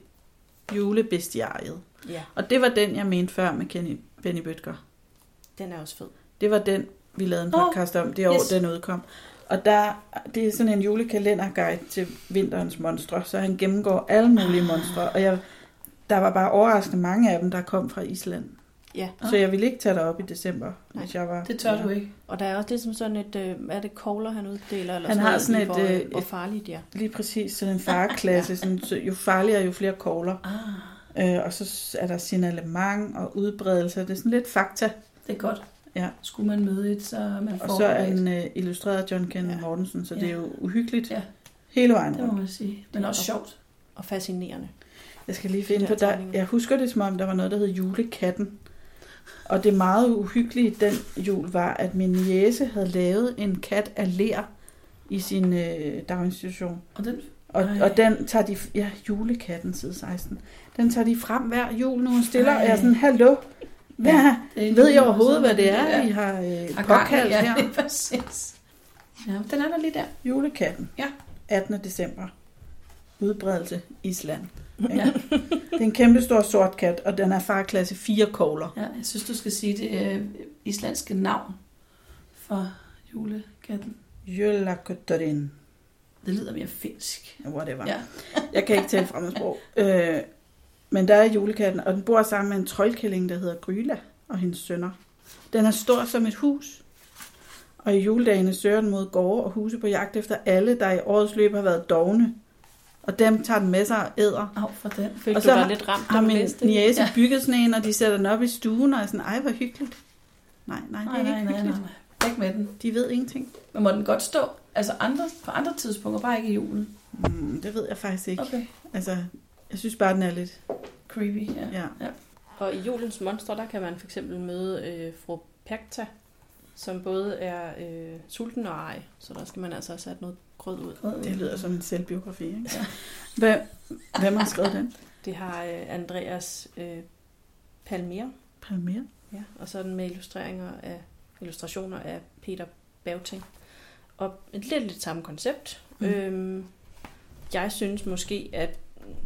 Speaker 1: Julebestiariet.
Speaker 2: ja,
Speaker 1: Og det var den, jeg mente før med Kenny, Benny Bøtger.
Speaker 2: den er også fed.
Speaker 1: Det var den, vi lavede en
Speaker 3: Åh,
Speaker 1: podcast om det år,
Speaker 3: yes.
Speaker 1: den udkom. Og der, det er sådan en julekalenderguide til vinterens monstre, så han gennemgår alle mulige
Speaker 3: Ah.
Speaker 1: monstre. Og jeg, der var bare overraskende mange af dem, der kom fra Island.
Speaker 2: Ja,
Speaker 1: Så jeg ville ikke tage dig op i december, hvis jeg var...
Speaker 3: Ah. Det tør du ikke.
Speaker 2: og der er også ligesom sådan et, øh, er det kogler, han uddeler?
Speaker 1: Han
Speaker 2: Eller sådan
Speaker 1: har
Speaker 2: noget,
Speaker 1: sådan
Speaker 2: i
Speaker 1: et,
Speaker 2: hvor,
Speaker 1: øh,
Speaker 2: hvor
Speaker 1: et-
Speaker 2: farlige de er.
Speaker 1: Lige præcis sådan en fareklasse. Sådan, så jo farligere, jo flere kogler.
Speaker 3: Ah,
Speaker 1: Øh, og så er der signalement og udbredelse. Det er sådan lidt fakta.
Speaker 3: det er godt.
Speaker 1: Ja.
Speaker 3: Skulle man møde et, så er man
Speaker 1: Og så er
Speaker 3: forberedt.
Speaker 1: den øh, illustreret af John Kenneth
Speaker 2: Ja.
Speaker 1: Mortensen, så
Speaker 3: Ja.
Speaker 1: det er jo uhyggeligt
Speaker 3: Ja.
Speaker 1: hele vejen
Speaker 3: Det må
Speaker 1: rundt.
Speaker 3: man sige. Men også sjovt.
Speaker 2: Og fascinerende.
Speaker 1: Jeg skal lige finde
Speaker 2: De
Speaker 1: på
Speaker 2: der
Speaker 1: dig.
Speaker 2: tegninger.
Speaker 1: Jeg husker det som om, der var noget, der hed julekatten. Og det meget uhyggelige i den jul var, at min jæse havde lavet en kat af ler i sin øh, daginstitution.
Speaker 3: Og den,
Speaker 1: Og,
Speaker 3: Ej.
Speaker 1: og den tager de, ja, julekatten side 16, den tager de frem hver jul, når hun stiller, Ej. og jeg er sådan, hallo, hvad,
Speaker 3: det
Speaker 1: ved I overhovedet, hvad det er, I
Speaker 3: I
Speaker 1: har øh,
Speaker 3: har
Speaker 1: påkaldt
Speaker 3: ja,
Speaker 1: her?
Speaker 3: det er præcis. Ja, den er der lige der.
Speaker 1: Julekatten,
Speaker 3: Ja.
Speaker 1: 18. december, udbredelse, Island.
Speaker 3: Ja.
Speaker 1: Det er en kæmpe stor sort kat, og den er farklasse 4 kogler.
Speaker 3: ja, jeg synes, du skal sige det øh, islandske navn for julekatten.
Speaker 1: Jølakotorin,
Speaker 3: Det lyder mere finsk.
Speaker 1: whatever.
Speaker 3: Ja.
Speaker 1: Jeg kan ikke tale fremmedsprog. Øh, men der er julekatten, og den bor sammen med en troldkælling, der hedder Gryla og hendes sønner. Den er stor som et hus, og i juledagene søger den mod gårde og huse på jagt efter alle, der i årets løb har været dogne. Og dem tager den med sig og æder.
Speaker 3: Af for den.
Speaker 2: Følte
Speaker 1: Og
Speaker 2: og
Speaker 1: så
Speaker 2: så du
Speaker 1: har-
Speaker 2: dig lidt ramt,
Speaker 1: Har
Speaker 2: da du
Speaker 1: min
Speaker 2: læste det?
Speaker 1: niæse
Speaker 3: Ja.
Speaker 1: bygget sådan en, og de sætter den op i stuen, og er sådan, ej, hvor hyggeligt. Nej, nej, det er
Speaker 3: Nej,
Speaker 1: ikke
Speaker 3: nej, nej,
Speaker 1: hyggeligt.
Speaker 3: nej, nej. Væk med den.
Speaker 1: De ved ingenting.
Speaker 3: Men må den godt stå? Altså andre, på andre tidspunkter, bare ikke i julen.
Speaker 1: Mm, det ved jeg faktisk ikke.
Speaker 3: Okay.
Speaker 1: Altså, jeg synes bare, den er lidt...
Speaker 3: Creepy, ja.
Speaker 1: Ja.
Speaker 2: Og i julens monstre, der kan man for eksempel møde øh, fru Pacta, som både er øh, sulten og ej. Så der skal man altså også have noget grød ud.
Speaker 1: Det lyder som en selvbiografi, ikke? Hvem, hvem har skrevet den?
Speaker 2: Det har øh, Andreas øh, Palmer,
Speaker 1: Palmer?
Speaker 2: ja, og så er den med illustreringer af, illustrationer af Peter Bauting. Og et lidt lidt samme koncept.
Speaker 1: Mm.
Speaker 2: Mm. Øhm, jeg synes måske, at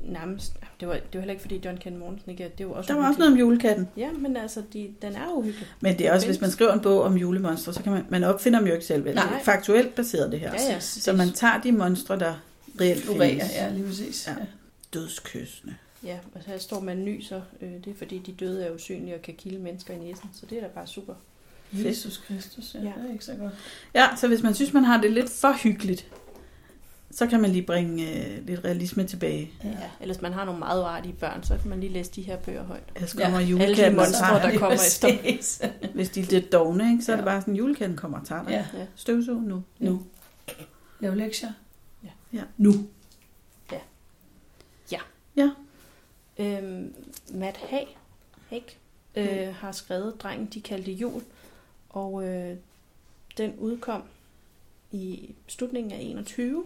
Speaker 2: nærmest... Det var, det var heller ikke, fordi John Ken Mortensen ikke er... Det var også
Speaker 1: Der var også
Speaker 2: uhyggeligt.
Speaker 1: noget om julekatten.
Speaker 2: Ja, men altså, de, den er uhyggelig.
Speaker 1: Men det er også, hvis man skriver en bog om julemonstre, så kan man... Man opfinder dem jo ikke selv, vel?
Speaker 3: Nej.
Speaker 1: Det er Faktuelt baseret det her.
Speaker 2: Ja, ja.
Speaker 1: Så man tager de monstre, der reelt
Speaker 3: florerer,
Speaker 1: findes.
Speaker 3: ja, lige præcis.
Speaker 1: Ja.
Speaker 3: Ja.
Speaker 1: Dødskysende.
Speaker 2: Ja, og så her står man nyser. Øh, det er fordi, de døde er usynlige og kan kilde mennesker i næsen. Så det er da bare super.
Speaker 3: Jesus Kristus, ja,
Speaker 2: Ja.
Speaker 3: det er ikke så godt.
Speaker 1: Ja, så hvis man synes, man har det lidt for hyggeligt, så kan man lige bringe øh, lidt realisme tilbage.
Speaker 3: Ja.
Speaker 2: Ellers man har nogle meget uartige børn, så kan man lige læse de her bøger højt.
Speaker 1: Ellers
Speaker 3: Ja,
Speaker 1: kommer ja,
Speaker 2: alle de
Speaker 1: julekatten og
Speaker 2: monstre,
Speaker 1: tager.
Speaker 2: der
Speaker 1: dem.
Speaker 2: kommer efter.
Speaker 3: efter.
Speaker 1: Hvis de er lidt dogne, ikke, så er det
Speaker 3: Ja.
Speaker 1: bare sådan, julekatten kommer og tager dig.
Speaker 3: Ja,
Speaker 1: Støvsug nu.
Speaker 3: nu. Lav lektier.
Speaker 2: Ja.
Speaker 1: Ja.
Speaker 3: Nu.
Speaker 2: Øhm, Matt Haig, Haig øh, har skrevet Drengen, de kaldte jul. Og øh, den udkom i slutningen af 21.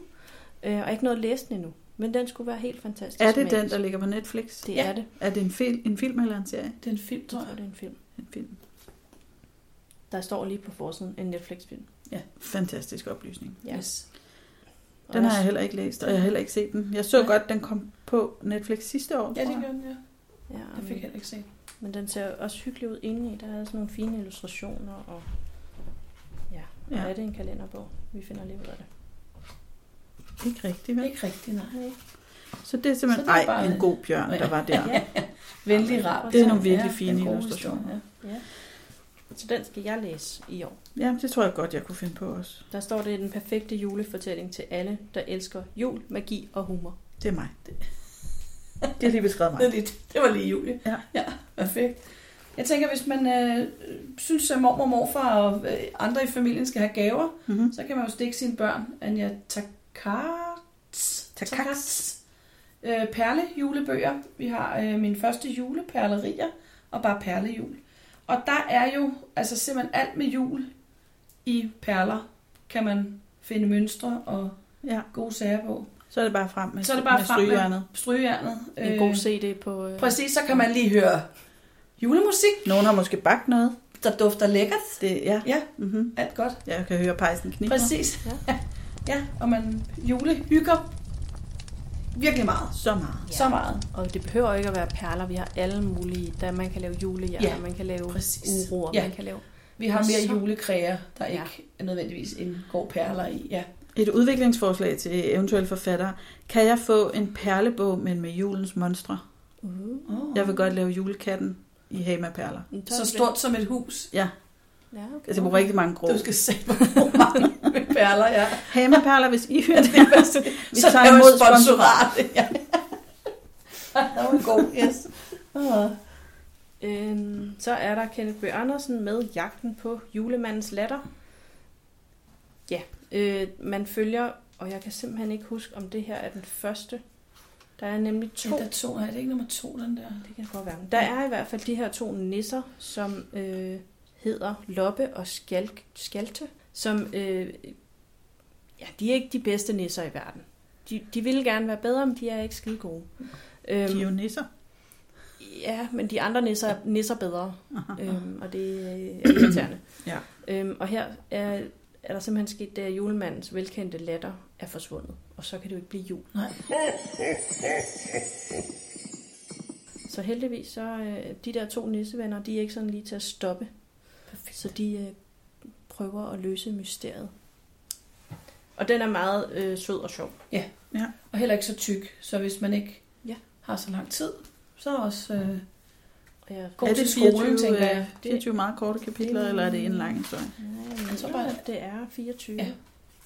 Speaker 2: Øh, og ikke noget at læse den endnu. Men den skulle være helt fantastisk.
Speaker 1: Er det den,
Speaker 2: magisk.
Speaker 1: der ligger på Netflix?
Speaker 2: Det
Speaker 3: Ja.
Speaker 2: er det.
Speaker 1: Er det en, fil, en film eller en serie?
Speaker 3: Det er en film,
Speaker 2: Jeg
Speaker 3: tror
Speaker 2: tror,
Speaker 3: jeg.
Speaker 2: det er en film.
Speaker 1: En film.
Speaker 2: Der står lige på forsiden en Netflix-film.
Speaker 1: Fantastisk oplysning.
Speaker 2: Ja.
Speaker 3: Yes.
Speaker 2: Og
Speaker 1: Den
Speaker 2: der-
Speaker 1: har jeg heller ikke læst, og jeg har heller ikke set den. Jeg så
Speaker 3: Nej.
Speaker 1: godt, den kom på Netflix sidste år.
Speaker 3: Ja, det
Speaker 1: tror jeg.
Speaker 3: gør den, ja.
Speaker 2: Ja,
Speaker 3: Det fik
Speaker 2: men-
Speaker 3: jeg heller ikke set.
Speaker 2: Men den ser også hyggelig ud indeni. Der er sådan nogle fine illustrationer, og ja, ja.
Speaker 1: Ja.
Speaker 2: er det en kalenderbog? Vi finder lige ud af det.
Speaker 1: Ikke rigtigt, vel?
Speaker 3: Ikke rigtigt, nej.
Speaker 2: Nej.
Speaker 1: Så det er simpelthen,
Speaker 3: Så det er
Speaker 1: ej,
Speaker 3: bare-
Speaker 1: en god bjørn, der var der.
Speaker 2: Ja.
Speaker 3: Vældig rart.
Speaker 2: Det er
Speaker 1: nogle virkelig
Speaker 3: Ja,
Speaker 1: fine
Speaker 3: en god
Speaker 1: illustrationer.
Speaker 3: historie,
Speaker 2: ja. Så den skal jeg læse i år.
Speaker 1: Ja, det tror jeg godt, jeg kunne finde på også.
Speaker 2: Der står det er den perfekte julefortælling til alle, der elsker jul, magi og humor.
Speaker 1: Det er mig. Det, det er lige beskrevet
Speaker 3: Ja.
Speaker 1: mig.
Speaker 3: Det, er lige, det var lige Julie.
Speaker 1: Ja.
Speaker 3: ja perfekt. Jeg tænker, hvis man øh, synes, at mormor, morfar og øh, andre i familien skal have gaver,
Speaker 1: Mm-hmm.
Speaker 3: Så kan man jo stikke sine børn Anja Takats,
Speaker 1: Takats.
Speaker 3: øh, perlejulebøger. Vi har øh, min første juleperlerier og bare perlejul. Og der er jo altså simpelthen alt med jul i perler. Kan man finde mønstre og
Speaker 1: Ja,
Speaker 3: gode sager på.
Speaker 1: så er det bare frem med,
Speaker 3: Så er det bare
Speaker 1: med
Speaker 3: frem med-
Speaker 1: strygejernet.
Speaker 3: Strygejernet.
Speaker 2: En god CD på... Øh,
Speaker 3: Præcis, så kan man lige høre julemusik.
Speaker 1: Nogen har måske bagt noget.
Speaker 3: der dufter lækkert.
Speaker 1: Det, ja.
Speaker 3: Ja,
Speaker 1: Mm-hmm.
Speaker 3: alt godt.
Speaker 1: Jeg kan høre pejsen knippe.
Speaker 3: Præcis.
Speaker 2: Ja.
Speaker 3: Ja. ja, og man julehygger virkelig meget.
Speaker 1: Så meget.
Speaker 3: Ja.
Speaker 2: Ja.
Speaker 3: Så meget.
Speaker 2: Og det behøver ikke at være perler. Vi har alle mulige. Der, man kan lave julehjerter,
Speaker 3: Ja,
Speaker 2: ja, man kan lave
Speaker 3: præcis.
Speaker 2: uroer,
Speaker 3: Ja.
Speaker 2: ja. man kan lave...
Speaker 3: Vi har mere
Speaker 2: Så-
Speaker 3: julekræer, der
Speaker 2: Ja.
Speaker 3: ikke nødvendigvis indgår perler i. Ja.
Speaker 1: Et udviklingsforslag til eventuelle forfattere. Kan jeg få en perlebog, men med julens monstre?
Speaker 2: Uh,
Speaker 3: Oh.
Speaker 1: Jeg vil godt lave julekatten i Hema Perler.
Speaker 2: en
Speaker 3: Så stort som et hus.
Speaker 2: Ja, okay.
Speaker 1: Altså, jeg bruger rigtig mange grå.
Speaker 3: Du skal se, hvor mange perler, ja.
Speaker 1: Hema Perler, hvis I hører det. Vi
Speaker 3: så
Speaker 1: tager
Speaker 3: laver
Speaker 1: imod
Speaker 3: et sponsorat. Ja. Der var god, yes. Åh.
Speaker 2: Øhm, så er der Kenneth Bøh Andersen med Jagten på julemandens latter. Ja, øh, man følger, og jeg kan simpelthen ikke huske, om det her er den første. Der er nemlig to.
Speaker 3: Ja, der er to. Er det ikke nummer to, den der?
Speaker 2: Det kan godt være. Der er i hvert fald de her to nisser, som øh, hedder Loppe og Skalk, Skalte, som øh, ja, de er ikke de bedste nisser i verden. De, de ville gerne være bedre, men de er ikke skide gode.
Speaker 1: De er jo
Speaker 2: Øhm,
Speaker 1: nisser.
Speaker 2: ja, men de andre nisser er nisser bedre.
Speaker 1: Aha.
Speaker 2: øhm, og det øh, er irriterende.
Speaker 1: Ja.
Speaker 2: Øhm, og her er, er der simpelthen sket det, at julemandens velkendte latter er forsvundet, og så kan det jo ikke blive jul.
Speaker 3: Nej.
Speaker 2: Så heldigvis, så øh, de der to nissevenner, de er ikke sådan lige til at stoppe,
Speaker 3: Perfekt.
Speaker 2: så de øh, prøver at løse mysteriet. Og den er meget øh, sød og sjov.
Speaker 3: Og heller ikke så tyk, så hvis man ikke
Speaker 2: Ja.
Speaker 3: har så lang tid, så er også øh,
Speaker 2: Og jeg,
Speaker 3: god
Speaker 1: Er
Speaker 3: til
Speaker 1: Øhm, det
Speaker 3: skolen,
Speaker 1: 24,
Speaker 3: tænker jeg.
Speaker 1: øh, 24 meget korte kapitler,
Speaker 2: det-
Speaker 1: eller er det en lang historie?
Speaker 2: Nej,
Speaker 3: Jeg
Speaker 2: jeg
Speaker 3: tror
Speaker 2: tror
Speaker 3: bare-
Speaker 2: at det er 24.
Speaker 3: Ja.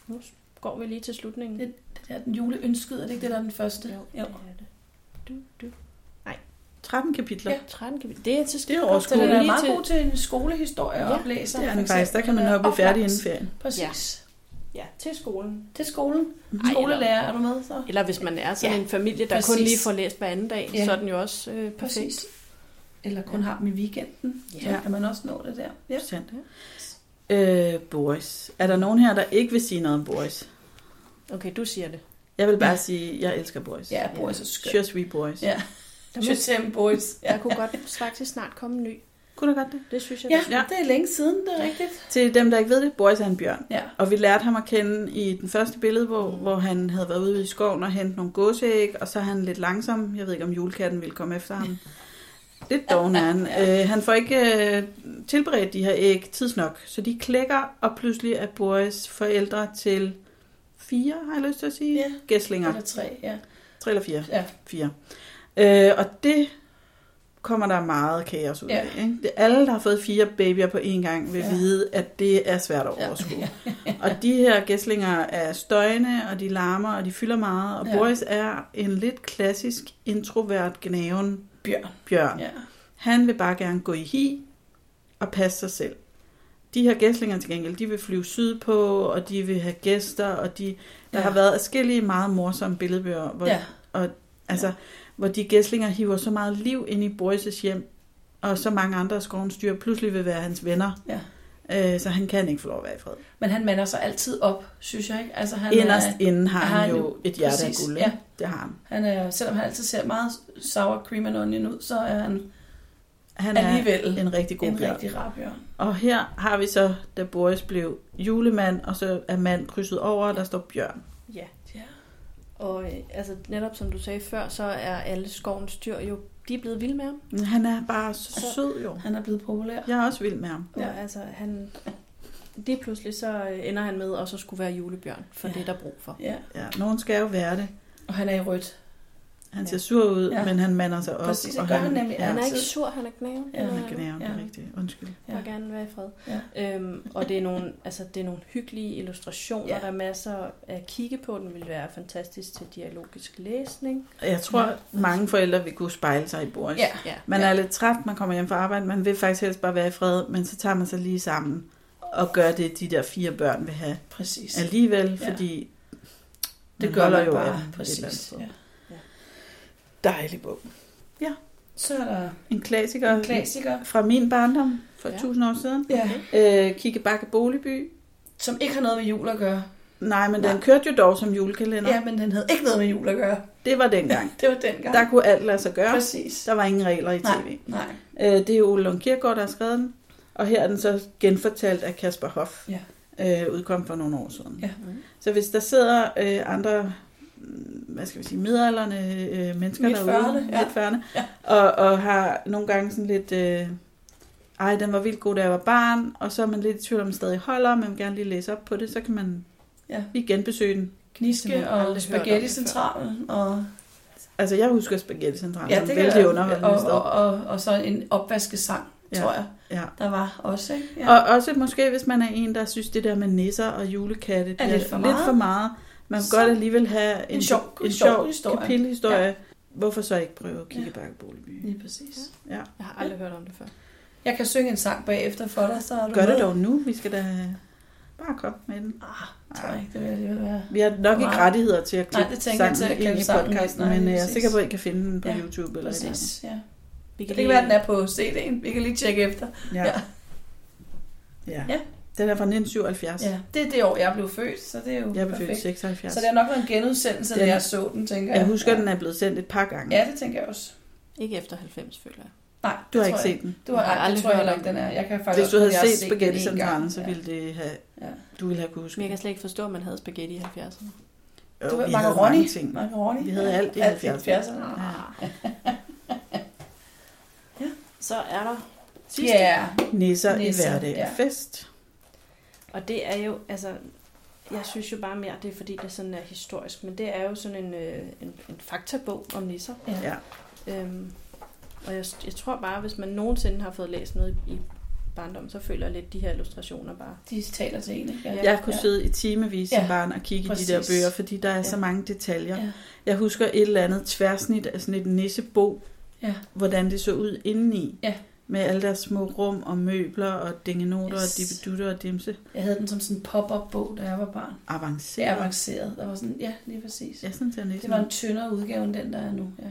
Speaker 2: Nu går vi lige til slutningen.
Speaker 3: Det der er den juleønskede, er det ikke det, der er den første?
Speaker 2: Jo, det er det. Du, du.
Speaker 1: 13 kapitler.
Speaker 3: Ja.
Speaker 1: Ja.
Speaker 2: 13 kan vi... Det er til
Speaker 1: Det er
Speaker 3: Så den
Speaker 1: overskueligt.
Speaker 3: er
Speaker 2: Lige
Speaker 3: meget
Speaker 2: til-
Speaker 3: god til en skolehistorie og
Speaker 2: Ja,
Speaker 3: oplæser.
Speaker 1: Det er
Speaker 3: for
Speaker 1: den faktisk. Der
Speaker 3: eksempel.
Speaker 1: kan man nok blive
Speaker 3: Oplagt.
Speaker 1: færdig inden ferien.
Speaker 3: Præcis.
Speaker 2: Ja, til skolen.
Speaker 3: Til skolen.
Speaker 1: Mhm.
Speaker 2: Ej,
Speaker 3: Skolelærer, er du med så?
Speaker 2: Eller hvis man er sådan
Speaker 3: Ja,
Speaker 2: ja, en familie, der
Speaker 3: præcis.
Speaker 2: kun lige får læst hver anden dag,
Speaker 3: Ja.
Speaker 2: ja. så er den jo også øh, perfekt.
Speaker 3: Præcis. Eller kun har dem i weekenden.
Speaker 2: Ja.
Speaker 3: Så kan man også nå det der. Ja.
Speaker 1: Sandt. Øh, Boris. Er der nogen her, der ikke vil sige noget om Boris?
Speaker 2: Okay, du siger det.
Speaker 1: Jeg vil bare sige, at jeg elsker Boris.
Speaker 3: Ja, Boris er skøn.
Speaker 1: Je suis Boris.
Speaker 3: Ja.
Speaker 2: Der,
Speaker 3: Je
Speaker 2: må,
Speaker 3: t'aime, boys.
Speaker 2: der kunne godt faktisk snart komme en ny.
Speaker 1: Kunne du godt det?
Speaker 2: Det synes jeg,
Speaker 3: Ja,
Speaker 2: der-
Speaker 3: ja, det er længe siden, det er rigtigt.
Speaker 1: Til dem, der ikke ved det, Boris er en bjørn.
Speaker 3: Ja.
Speaker 1: Og vi lærte ham at kende i den første billedbog,
Speaker 2: Mhm.
Speaker 1: hvor han havde været ude i skoven og hentet nogle gåseæg, og så er han lidt langsom. Jeg ved ikke, om julekatten ville komme efter ham. Lidt doven er han. Øh, han får ikke øh, tilberedt de her æg tidsnok, så de klækker, og pludselig er Boris forældre til fire, har jeg lyst til at sige,
Speaker 3: Ja.
Speaker 1: gæslinger.
Speaker 3: Eller tre, ja.
Speaker 1: Tre eller fire?
Speaker 3: Ja.
Speaker 1: Fire. Øh, og det kommer der meget kaos ud
Speaker 3: Ja.
Speaker 1: af. Ikke? Det, alle, der har fået fire babyer på én gang, vil
Speaker 3: Ja.
Speaker 1: ja. vide, at det er svært at
Speaker 3: Ja.
Speaker 1: overskue. og de her gæslinger er støjende, og de larmer, og de fylder meget. Og
Speaker 3: Ja.
Speaker 1: ja. Boris er en lidt klassisk introvert gnaven
Speaker 3: Bjørn.
Speaker 1: bjørn. Ja.
Speaker 3: Ja.
Speaker 1: Han vil bare gerne gå i hi og passe sig selv. De her gæslinger til gengæld, de vil flyve sydpå, og de vil have gæster, og de, der
Speaker 3: Ja.
Speaker 1: ja. har været forskellige meget morsomme billedbøger, hvor
Speaker 3: Ja.
Speaker 1: Altså, ja. hvor de gæslinger hiver så meget liv ind i Boris' hjem, og så mange andre af skovens dyr pludselig vil være hans venner.
Speaker 3: Ja.
Speaker 1: Øh, så han kan ikke få lov at være i fred.
Speaker 3: Men han mander sig altid op, synes jeg ikke. Altså, han
Speaker 1: Inderst
Speaker 3: er,
Speaker 1: inden har
Speaker 3: har
Speaker 1: han
Speaker 3: han
Speaker 1: jo et hjerte af
Speaker 3: præcis,
Speaker 1: guld.
Speaker 3: ja.
Speaker 1: Ja. Det har han.
Speaker 3: han er, selvom han altid ser meget sour cream and onion ud, så er han,
Speaker 1: Han
Speaker 3: han
Speaker 1: er
Speaker 3: er alligevel
Speaker 1: en rigtig god
Speaker 3: en
Speaker 1: bjørn.
Speaker 3: rigtig rar bjørn.
Speaker 1: Og her har vi så, da Boris blev julemand, og så er mand krydset over, og der står bjørn.
Speaker 2: ja.
Speaker 3: Ja.
Speaker 2: Og øh, altså, netop som du sagde før, så er alle skovens dyr jo, de er blevet vilde med ham.
Speaker 1: Men han er bare så
Speaker 3: Altså-
Speaker 1: sød jo.
Speaker 3: Han er blevet populær.
Speaker 1: Jeg er også vild med ham.
Speaker 2: Ja.
Speaker 3: Ja.
Speaker 2: Og altså, han, lige pludselig så øh, ender han med også at skulle være julebjørn, for
Speaker 3: Ja.
Speaker 2: ja. det er der brug for.
Speaker 3: Ja.
Speaker 1: Ja, nogen skal jo være det.
Speaker 3: Og han er i rødt.
Speaker 1: Han
Speaker 2: Ja.
Speaker 1: ser sur ud,
Speaker 3: Ja.
Speaker 1: ja. men han mander sig op.
Speaker 3: Præcis, det
Speaker 1: og
Speaker 3: gør han nemlig
Speaker 1: Ja,
Speaker 2: Han er
Speaker 1: han
Speaker 2: ikke sur, han er gnaven.
Speaker 3: Ja, han
Speaker 1: er gnaven, det er
Speaker 3: Ja.
Speaker 1: rigtigt. Undskyld.
Speaker 3: Ja.
Speaker 2: Ja. Jeg gerne være i fred.
Speaker 3: Ja.
Speaker 2: Øhm, og det er, nogle, altså, det er nogle hyggelige illustrationer,
Speaker 3: Ja.
Speaker 2: ja. der er masser at kigge på. Den vil være fantastisk til dialogisk læsning.
Speaker 1: Jeg tror,
Speaker 3: Ja.
Speaker 1: ja. mange forældre vil kunne spejle sig i Boris.
Speaker 3: Ja.
Speaker 2: Ja.
Speaker 1: Man
Speaker 3: Ja.
Speaker 1: ja. er lidt træt, man kommer hjem fra arbejde, man vil faktisk helst bare være i fred, men så tager man sig lige sammen og gør det, de der fire børn vil have
Speaker 3: Præcis.
Speaker 1: alligevel,
Speaker 3: Ja.
Speaker 1: ja. fordi
Speaker 3: Det
Speaker 1: man
Speaker 3: gør
Speaker 1: holder
Speaker 3: man
Speaker 1: af
Speaker 3: bare.
Speaker 1: dem et eller andet
Speaker 3: Præcis.
Speaker 1: sted.
Speaker 3: Ja.
Speaker 1: Dejlig bog.
Speaker 3: Så er der
Speaker 1: En klassiker
Speaker 3: en klassiker,
Speaker 1: fra min barndom for
Speaker 2: Ja.
Speaker 1: ja. 1000 år siden.
Speaker 3: ja.
Speaker 1: Øh, Kigge Bakke Boligby.
Speaker 3: som ikke har noget med jul at gøre.
Speaker 1: Nej, men
Speaker 3: Nej.
Speaker 1: den kørte jo dog som julekalender.
Speaker 3: Ja, men den havde ikke noget med jul at gøre.
Speaker 1: Det var dengang.
Speaker 3: Det var dengang.
Speaker 1: Der kunne alt lade sig gøre.
Speaker 3: Præcis.
Speaker 1: Der var ingen regler i tv.
Speaker 3: Nej, nej.
Speaker 1: Øh, det er jo Ole Lund Kirkegaard, der har skrevet den. Og her er den så genfortalt af Kasper Hoff.
Speaker 3: Ja.
Speaker 1: Øh, udkom for nogle år siden.
Speaker 3: Ja. Mm.
Speaker 1: Så hvis der sidder øh, andre, mm, hvad skal vi sige, midalderne øh, mennesker
Speaker 3: Midt
Speaker 1: derude,
Speaker 3: 40'erne, ja.
Speaker 1: midt 40'erne,
Speaker 3: Ja.
Speaker 1: og, og har nogle gange sådan lidt, øh, ej, den var vildt god, da jeg var barn, og så er man lidt i tvivl om, den stadig holder, men man vil gerne lige læse op på det, så kan man
Speaker 3: Ja.
Speaker 1: lige genbesøge den.
Speaker 2: Det har
Speaker 3: Kniske
Speaker 2: jeg aldrig hørt
Speaker 3: og
Speaker 2: om
Speaker 3: spaghetti-centralen. Og,
Speaker 1: Altså, jeg husker Spaghetti Central, som
Speaker 3: kan
Speaker 1: vældig
Speaker 3: jeg-
Speaker 1: underholdende
Speaker 3: og,
Speaker 1: sted.
Speaker 3: og, og, og, så en opvaskesang,
Speaker 1: Ja.
Speaker 3: ja. tror jeg,
Speaker 1: Ja.
Speaker 3: der var også. Ikke? Ja.
Speaker 1: Og også måske, hvis man er en, der synes, det der med nisser og julekatte, det
Speaker 3: Er lidt for
Speaker 1: lidt
Speaker 3: meget.
Speaker 1: for meget. Man kan
Speaker 3: Så-
Speaker 1: godt alligevel have en,
Speaker 3: en sjov-
Speaker 1: en
Speaker 3: en
Speaker 1: sjov,
Speaker 3: sjov historie.
Speaker 1: kapitelhistorie. Ja. Hvorfor så ikke prøve at kigge ja. Boligby?
Speaker 3: Lige præcis.
Speaker 1: Ja.
Speaker 2: Jeg har aldrig hørt om det før.
Speaker 3: Jeg kan synge en sang bagefter for dig, så er du
Speaker 1: Gør det
Speaker 3: med.
Speaker 1: dog nu. Vi skal da bare komme med den.
Speaker 3: Ah, tror jeg ikke, det vil alligevel være.
Speaker 1: Vi har nok ikke
Speaker 3: Meget.
Speaker 1: rettigheder til at
Speaker 3: Nej,
Speaker 1: klippe
Speaker 3: det tænker jeg til at
Speaker 1: sangen
Speaker 3: klippe
Speaker 1: ind i
Speaker 3: sangen ind.
Speaker 1: podcasten,
Speaker 3: Nej,
Speaker 1: men jeg er
Speaker 3: præcis.
Speaker 1: sikker på, at I kan finde den på
Speaker 3: Ja,
Speaker 1: YouTube eller et eller andet.
Speaker 3: Præcis, ja.
Speaker 2: Vi
Speaker 3: Det kan være, den er på CD'en. Vi kan lige tjekke efter.
Speaker 1: Ja.
Speaker 3: Ja.
Speaker 1: Ja.
Speaker 3: Ja.
Speaker 1: Den er fra 1977.
Speaker 3: Ja, Altså, det er det år, jeg blev født, så det er jo
Speaker 1: Jeg blev født i
Speaker 3: perfekt.
Speaker 1: 76.
Speaker 3: Så det har nok været en genudsendelse, da
Speaker 1: Den-
Speaker 3: jeg så den, tænker jeg.
Speaker 1: Jeg husker,
Speaker 3: ja.
Speaker 1: den er blevet sendt et par gange.
Speaker 3: Ja, det tænker jeg også.
Speaker 2: Ikke efter 90, føler jeg.
Speaker 3: Nej,
Speaker 1: Du har
Speaker 3: det tror
Speaker 1: ikke
Speaker 3: jeg
Speaker 1: set den.
Speaker 3: Du har,
Speaker 2: Jeg har
Speaker 3: ej, det
Speaker 2: aldrig
Speaker 3: tror jeg
Speaker 2: hørt
Speaker 3: heller
Speaker 2: om
Speaker 3: ikke, den er. Jeg kan faktisk
Speaker 1: Hvis du
Speaker 3: også-
Speaker 1: havde
Speaker 3: jeg har
Speaker 1: set
Speaker 3: den
Speaker 1: Spaghetti
Speaker 3: én
Speaker 1: Centralen,
Speaker 3: gang.
Speaker 1: så
Speaker 3: Ja.
Speaker 1: ville det have,
Speaker 3: Ja.
Speaker 1: du ville have kunne
Speaker 2: Men
Speaker 1: huske.
Speaker 2: jeg kan slet ikke forstå, at man havde spaghetti i 70'erne.
Speaker 1: Jo,
Speaker 3: Du ved,
Speaker 1: vi havde
Speaker 3: macaroni.
Speaker 1: mange ting.
Speaker 3: Macaroni.
Speaker 1: Vi havde alt i 70'erne. Ja.
Speaker 2: Så er der sidste.
Speaker 3: Ja,
Speaker 1: Nisser i
Speaker 3: Nisser,
Speaker 1: hverdag
Speaker 3: ja.
Speaker 1: ja. fest.
Speaker 2: Og det er jo, altså, jeg synes jo bare mere, det er fordi, det sådan er historisk, men det er jo sådan en, øh, en, en faktabog om nisser.
Speaker 1: Ja.
Speaker 2: Øhm, og jeg, jeg tror bare, hvis man nogensinde har fået læst noget i, i barndommen, så føler jeg lidt de her illustrationer bare.
Speaker 3: de taler til en, ikke? Ja.
Speaker 1: Jeg kunne sidde i timevis som
Speaker 3: Ja,
Speaker 1: barn og kigge i
Speaker 3: præcis.
Speaker 1: de der bøger, fordi der er så
Speaker 3: Ja.
Speaker 1: mange detaljer.
Speaker 3: Ja.
Speaker 1: Jeg husker et eller andet tværsnit af sådan et nissebo,
Speaker 3: Ja.
Speaker 1: hvordan det så ud indeni.
Speaker 3: Ja.
Speaker 1: Med alle deres små rum og møbler og dingenoter yes.
Speaker 3: Yes.
Speaker 1: og dippedutter og dimse.
Speaker 3: Jeg havde den som sådan en pop-up-bog, da jeg var barn. Det er
Speaker 1: Avanceret.
Speaker 3: avanceret. Der var sådan, ja, lige præcis.
Speaker 1: Jeg synes, jeg er
Speaker 3: Det
Speaker 1: nissen.
Speaker 3: var en tyndere udgave end den, der er nu. Ja.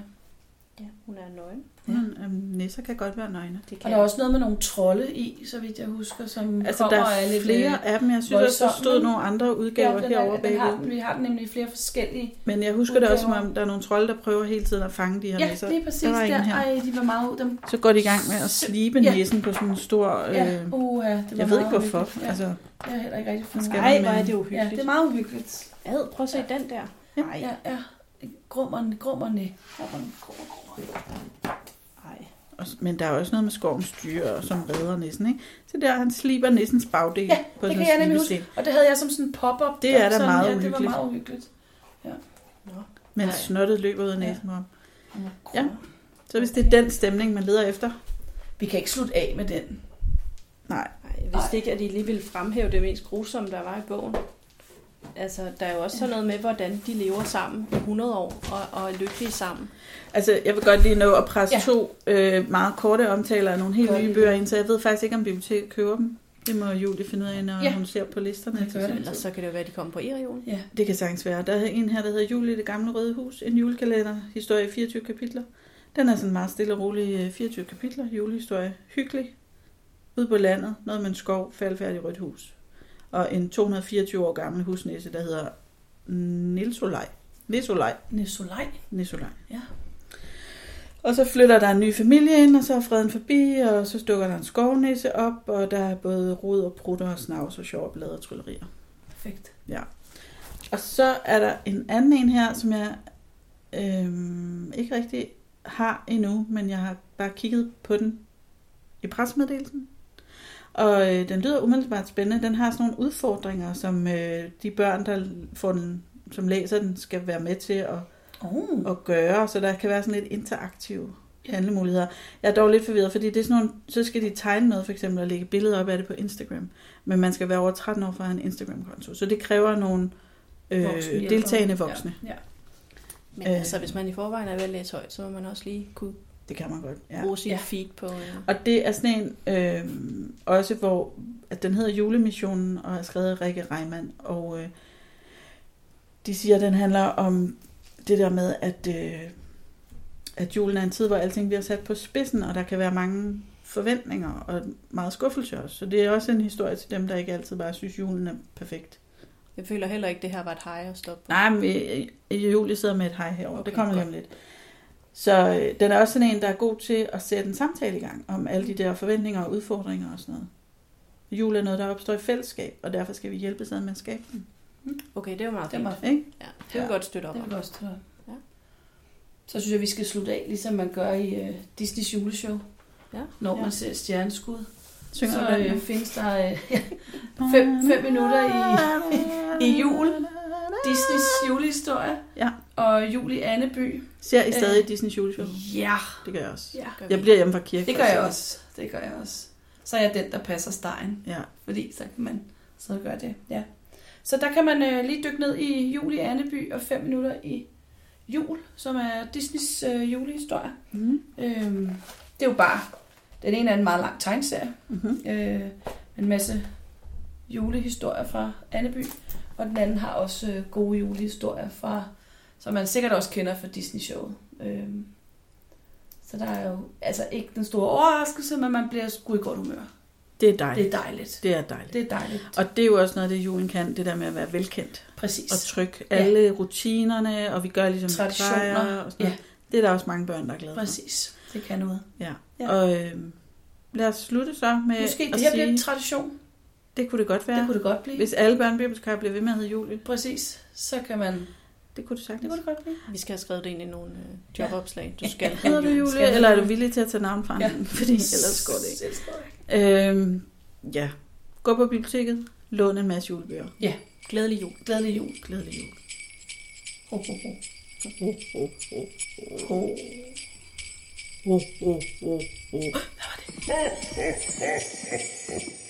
Speaker 2: Ja, hun er nøgen.
Speaker 1: Men, øhm, nisser kan godt være nøgne.
Speaker 2: Det
Speaker 3: Og der er også noget med nogle trolde i, så vidt jeg husker, som
Speaker 1: Altså, der
Speaker 3: kommer og
Speaker 1: er
Speaker 3: lidt, øh,
Speaker 1: flere af dem. Jeg synes også, der
Speaker 3: voldsomt,
Speaker 1: stod
Speaker 3: men-
Speaker 1: nogle andre udgaver
Speaker 3: Ja,
Speaker 1: ja,
Speaker 3: den er,
Speaker 1: herovre
Speaker 3: den har, den-
Speaker 1: bagved.
Speaker 3: vi har den nemlig i flere forskellige.
Speaker 1: Men jeg husker det også, som
Speaker 3: udgaver.
Speaker 1: om der er nogle trolde, der prøver hele tiden at fange de her
Speaker 3: Ja,
Speaker 1: nisser.
Speaker 3: lige præcis.
Speaker 1: der var en
Speaker 3: Der,
Speaker 1: her.
Speaker 3: ej, de var meget... Dem,
Speaker 1: Så går de i gang med at slibe
Speaker 3: Ja.
Speaker 1: nissen på sådan en stor... Øh,
Speaker 3: ja, uh, ja, det var
Speaker 1: jeg ved ikke
Speaker 3: meget
Speaker 1: hvorfor.
Speaker 3: uhyggeligt. Ja,
Speaker 1: Altså,
Speaker 3: jeg er heller ikke rigtig fundet.
Speaker 1: Skal
Speaker 3: Ej,
Speaker 2: Nej,
Speaker 1: men-
Speaker 2: hvor er det
Speaker 3: ja, det
Speaker 2: uhyggeligt.
Speaker 3: er meget uhyggeligt.
Speaker 2: Ad, prøv at se den der. Nej,
Speaker 3: Ja, ja. Grummerne, grummerne, grummerne, grummerne.
Speaker 2: nej.
Speaker 1: og, men der er også noget med skovens dyr, som redder nissen, ikke? Så der, han sliber nissens bagdel ja, på
Speaker 3: det
Speaker 1: sådan
Speaker 3: kan jeg
Speaker 1: en
Speaker 3: nemlig
Speaker 1: slibesten.
Speaker 3: Og det havde jeg som sådan en pop-up.
Speaker 1: Det er da
Speaker 3: sådan,
Speaker 1: meget
Speaker 3: ja, det var
Speaker 1: uhyggeligt.
Speaker 3: meget uhyggeligt.
Speaker 2: Nå.
Speaker 1: Men
Speaker 3: Nej.
Speaker 1: snottet løber ud af
Speaker 3: Ja.
Speaker 1: næsen ja.
Speaker 3: Ja.
Speaker 1: Så hvis det er den stemning, man leder efter...
Speaker 3: Vi kan ikke slutte af med den.
Speaker 1: Nej,
Speaker 2: Nej, jeg vidste ikke, at I lige ville fremhæve det mest grusomme, der var i bogen. Altså, der er jo også sådan noget med, hvordan de lever sammen i 100 år og, og er lykkelige sammen.
Speaker 1: altså jeg vil godt lige nå at presse ja.
Speaker 3: Ja.
Speaker 1: to øh, meget korte omtaler af nogle helt
Speaker 3: Godt.
Speaker 1: nye bøger ind, så jeg ved faktisk ikke, om biblioteket køber dem. Det må Julie finde ud af, når ja.
Speaker 3: Ja.
Speaker 1: hun ser på listerne.
Speaker 3: Det altså. gør det.
Speaker 2: Ellers så kan det jo være, at de kommer på e-reolen.
Speaker 3: Ja.
Speaker 1: Det kan sagtens være. Der er en her, der hedder Jul i det gamle røde hus. En julekalender. Historie i 24 kapitler. Den er sådan meget stille og rolig. øh, 24 kapitler. Julehistorie. Hyggelig. Ude på landet. Noget med en skov. Faldfærdig rødt hus. Og en 224 år gammel husnæse, der hedder Nilsolej. Nisolej.
Speaker 3: Nisolaj.
Speaker 1: Nisolej.
Speaker 3: Ja.
Speaker 1: Og så flytter der en ny familie ind, og så er freden forbi, og så dukker der en skovnæse op, og der er både rod og prutter og snavs og sjove blade og tryllerier.
Speaker 3: Perfekt.
Speaker 1: Og så er der en anden en her, som jeg øhm, ikke rigtig har endnu, men jeg har bare kigget på den i pressemeddelelsen. Og øh, den lyder umiddelbart spændende. Den har sådan nogle udfordringer, som øh, de børn, der får den, som læser den, skal være med til at,
Speaker 3: Oh.
Speaker 1: at gøre, så der kan være sådan lidt interaktive handlemuligheder. Jeg er dog lidt forvirret, fordi det er sådan nogle, så skal de tegne noget for eksempel og lægge billeder op af det på Instagram. Men man skal være over 13 år for at have en Instagram-konto, så det kræver nogle øh,
Speaker 3: Voksenhjælpere.
Speaker 1: deltagende voksne. Ja.
Speaker 3: Ja. ja.
Speaker 2: Men
Speaker 1: Øh.
Speaker 2: øh. altså, hvis man i forvejen er ved at læse højt, så må man også lige kunne
Speaker 1: Det kan man godt. Ja.
Speaker 2: bruge sit
Speaker 3: Ja.
Speaker 2: feed på... Øh.
Speaker 1: Og det er sådan en, øh, også hvor, at den hedder Julemissionen, og er skrevet af Rikke Reimann, og øh, de siger, at den handler om det der med, at, øh, at julen er en tid, hvor alting bliver sat på spidsen, og der kan være mange forventninger og meget skuffelse også. Så det er også en historie til dem, der ikke altid bare synes, julen er perfekt.
Speaker 2: Jeg føler heller ikke, at det her var et hej at stoppe på.
Speaker 1: Nej, men øh, øh, Julie sidder med et hej herovre. Okay,
Speaker 2: Okay,
Speaker 1: det kommer lige om
Speaker 2: godt.
Speaker 1: lidt. Så øh, den er også sådan en, der er god til at sætte en samtale i gang om alle de der forventninger og udfordringer og sådan noget. Jul er noget, der opstår i fællesskab, og derfor skal vi hjælpe sådan med at skabe den.
Speaker 2: Okay, det er jo meget
Speaker 3: Det er
Speaker 2: fint.
Speaker 3: meget
Speaker 1: Ikke?
Speaker 2: Ja, det vil
Speaker 1: Ja.
Speaker 2: ja. godt støtte op
Speaker 3: Det
Speaker 2: om.
Speaker 3: vil jeg også til dig.
Speaker 2: Ja.
Speaker 3: Så synes jeg, vi skal slutte af, ligesom man gør i uh, Disneys juleshow.
Speaker 2: Ja.
Speaker 3: Når man
Speaker 1: Ja.
Speaker 3: ser stjerneskud,
Speaker 1: Synger
Speaker 3: så
Speaker 1: den,
Speaker 3: øh, findes der øh, fem- fem minutter i- i jul. Disneys julehistorie
Speaker 1: Ja.
Speaker 3: og jul i Anneby.
Speaker 1: Ser I stadig Disney's juleshow?
Speaker 3: Ja.
Speaker 1: Det gør jeg også.
Speaker 3: Øh. ja,
Speaker 1: Jeg bliver hjemme fra kirke.
Speaker 3: det
Speaker 1: for
Speaker 3: gør
Speaker 1: at se
Speaker 3: jeg også. Det gør jeg også. Så er jeg den, der passer stegen,
Speaker 1: Ja.
Speaker 3: fordi så kan man så gøre det. Ja. Så der kan man øh, lige dykke ned i jul i Anneby og fem minutter i jul, som er Disneys øh, julehistorie.
Speaker 1: Mm.
Speaker 3: Øhm, det er jo bare, den ene er en meget lang tegneserie,
Speaker 1: Mm-hmm.
Speaker 3: øh, med en masse julehistorier fra Anneby, og den anden har også øh, gode julehistorier fra, som man sikkert også kender fra Disney-showet. Øhm, så der er jo altså ikke den store overraskelse, men man bliver sgu i godt humør.
Speaker 1: Det er dejligt.
Speaker 3: Det
Speaker 1: Det,
Speaker 3: er dejligt.
Speaker 1: det er dejligt.
Speaker 3: Det er dejligt.
Speaker 1: Og det er jo også noget, det julen kan, det der med at være velkendt
Speaker 3: Præcis.
Speaker 1: og tryg. Alle rutinerne, og vi gør ligesom vi
Speaker 3: Traditioner.
Speaker 1: plejer og sådan
Speaker 3: Ja.
Speaker 1: noget. Det er der også mange børn, der er glade for.
Speaker 3: Præcis. Det kan noget.
Speaker 1: Ja.
Speaker 3: Ja.
Speaker 1: Og øh, lad os slutte så med
Speaker 3: Måske
Speaker 1: at
Speaker 3: det her
Speaker 1: Øh, sige,
Speaker 3: bliver en tradition.
Speaker 1: det kunne det godt
Speaker 3: Det
Speaker 1: være.
Speaker 3: kunne det godt blive.
Speaker 1: Hvis alle børnebibelskar bliver ved med at hedde Julie,
Speaker 3: Præcis. Så kan man...
Speaker 1: det kunne det sagtens.
Speaker 3: Det kunne det godt blive.
Speaker 2: Vi skal have skrevet det ind i nogle øh, jobopslag. Du skal
Speaker 1: Hedder du
Speaker 2: Julie.
Speaker 1: Julie,
Speaker 2: Skal-
Speaker 1: eller er du villig til at tage navnforandringen? Ja. Fordi ellers går det ikke. Øhm, ja. Gå på biblioteket, lån en masse julebøger.
Speaker 2: Glædelig jul.
Speaker 3: Glædelig jul.
Speaker 1: Glædelig jul.
Speaker 3: Ho, ho, ho.
Speaker 1: Ho, ho, ho, ho. Ho, ho, ho, ho. Hvad var det?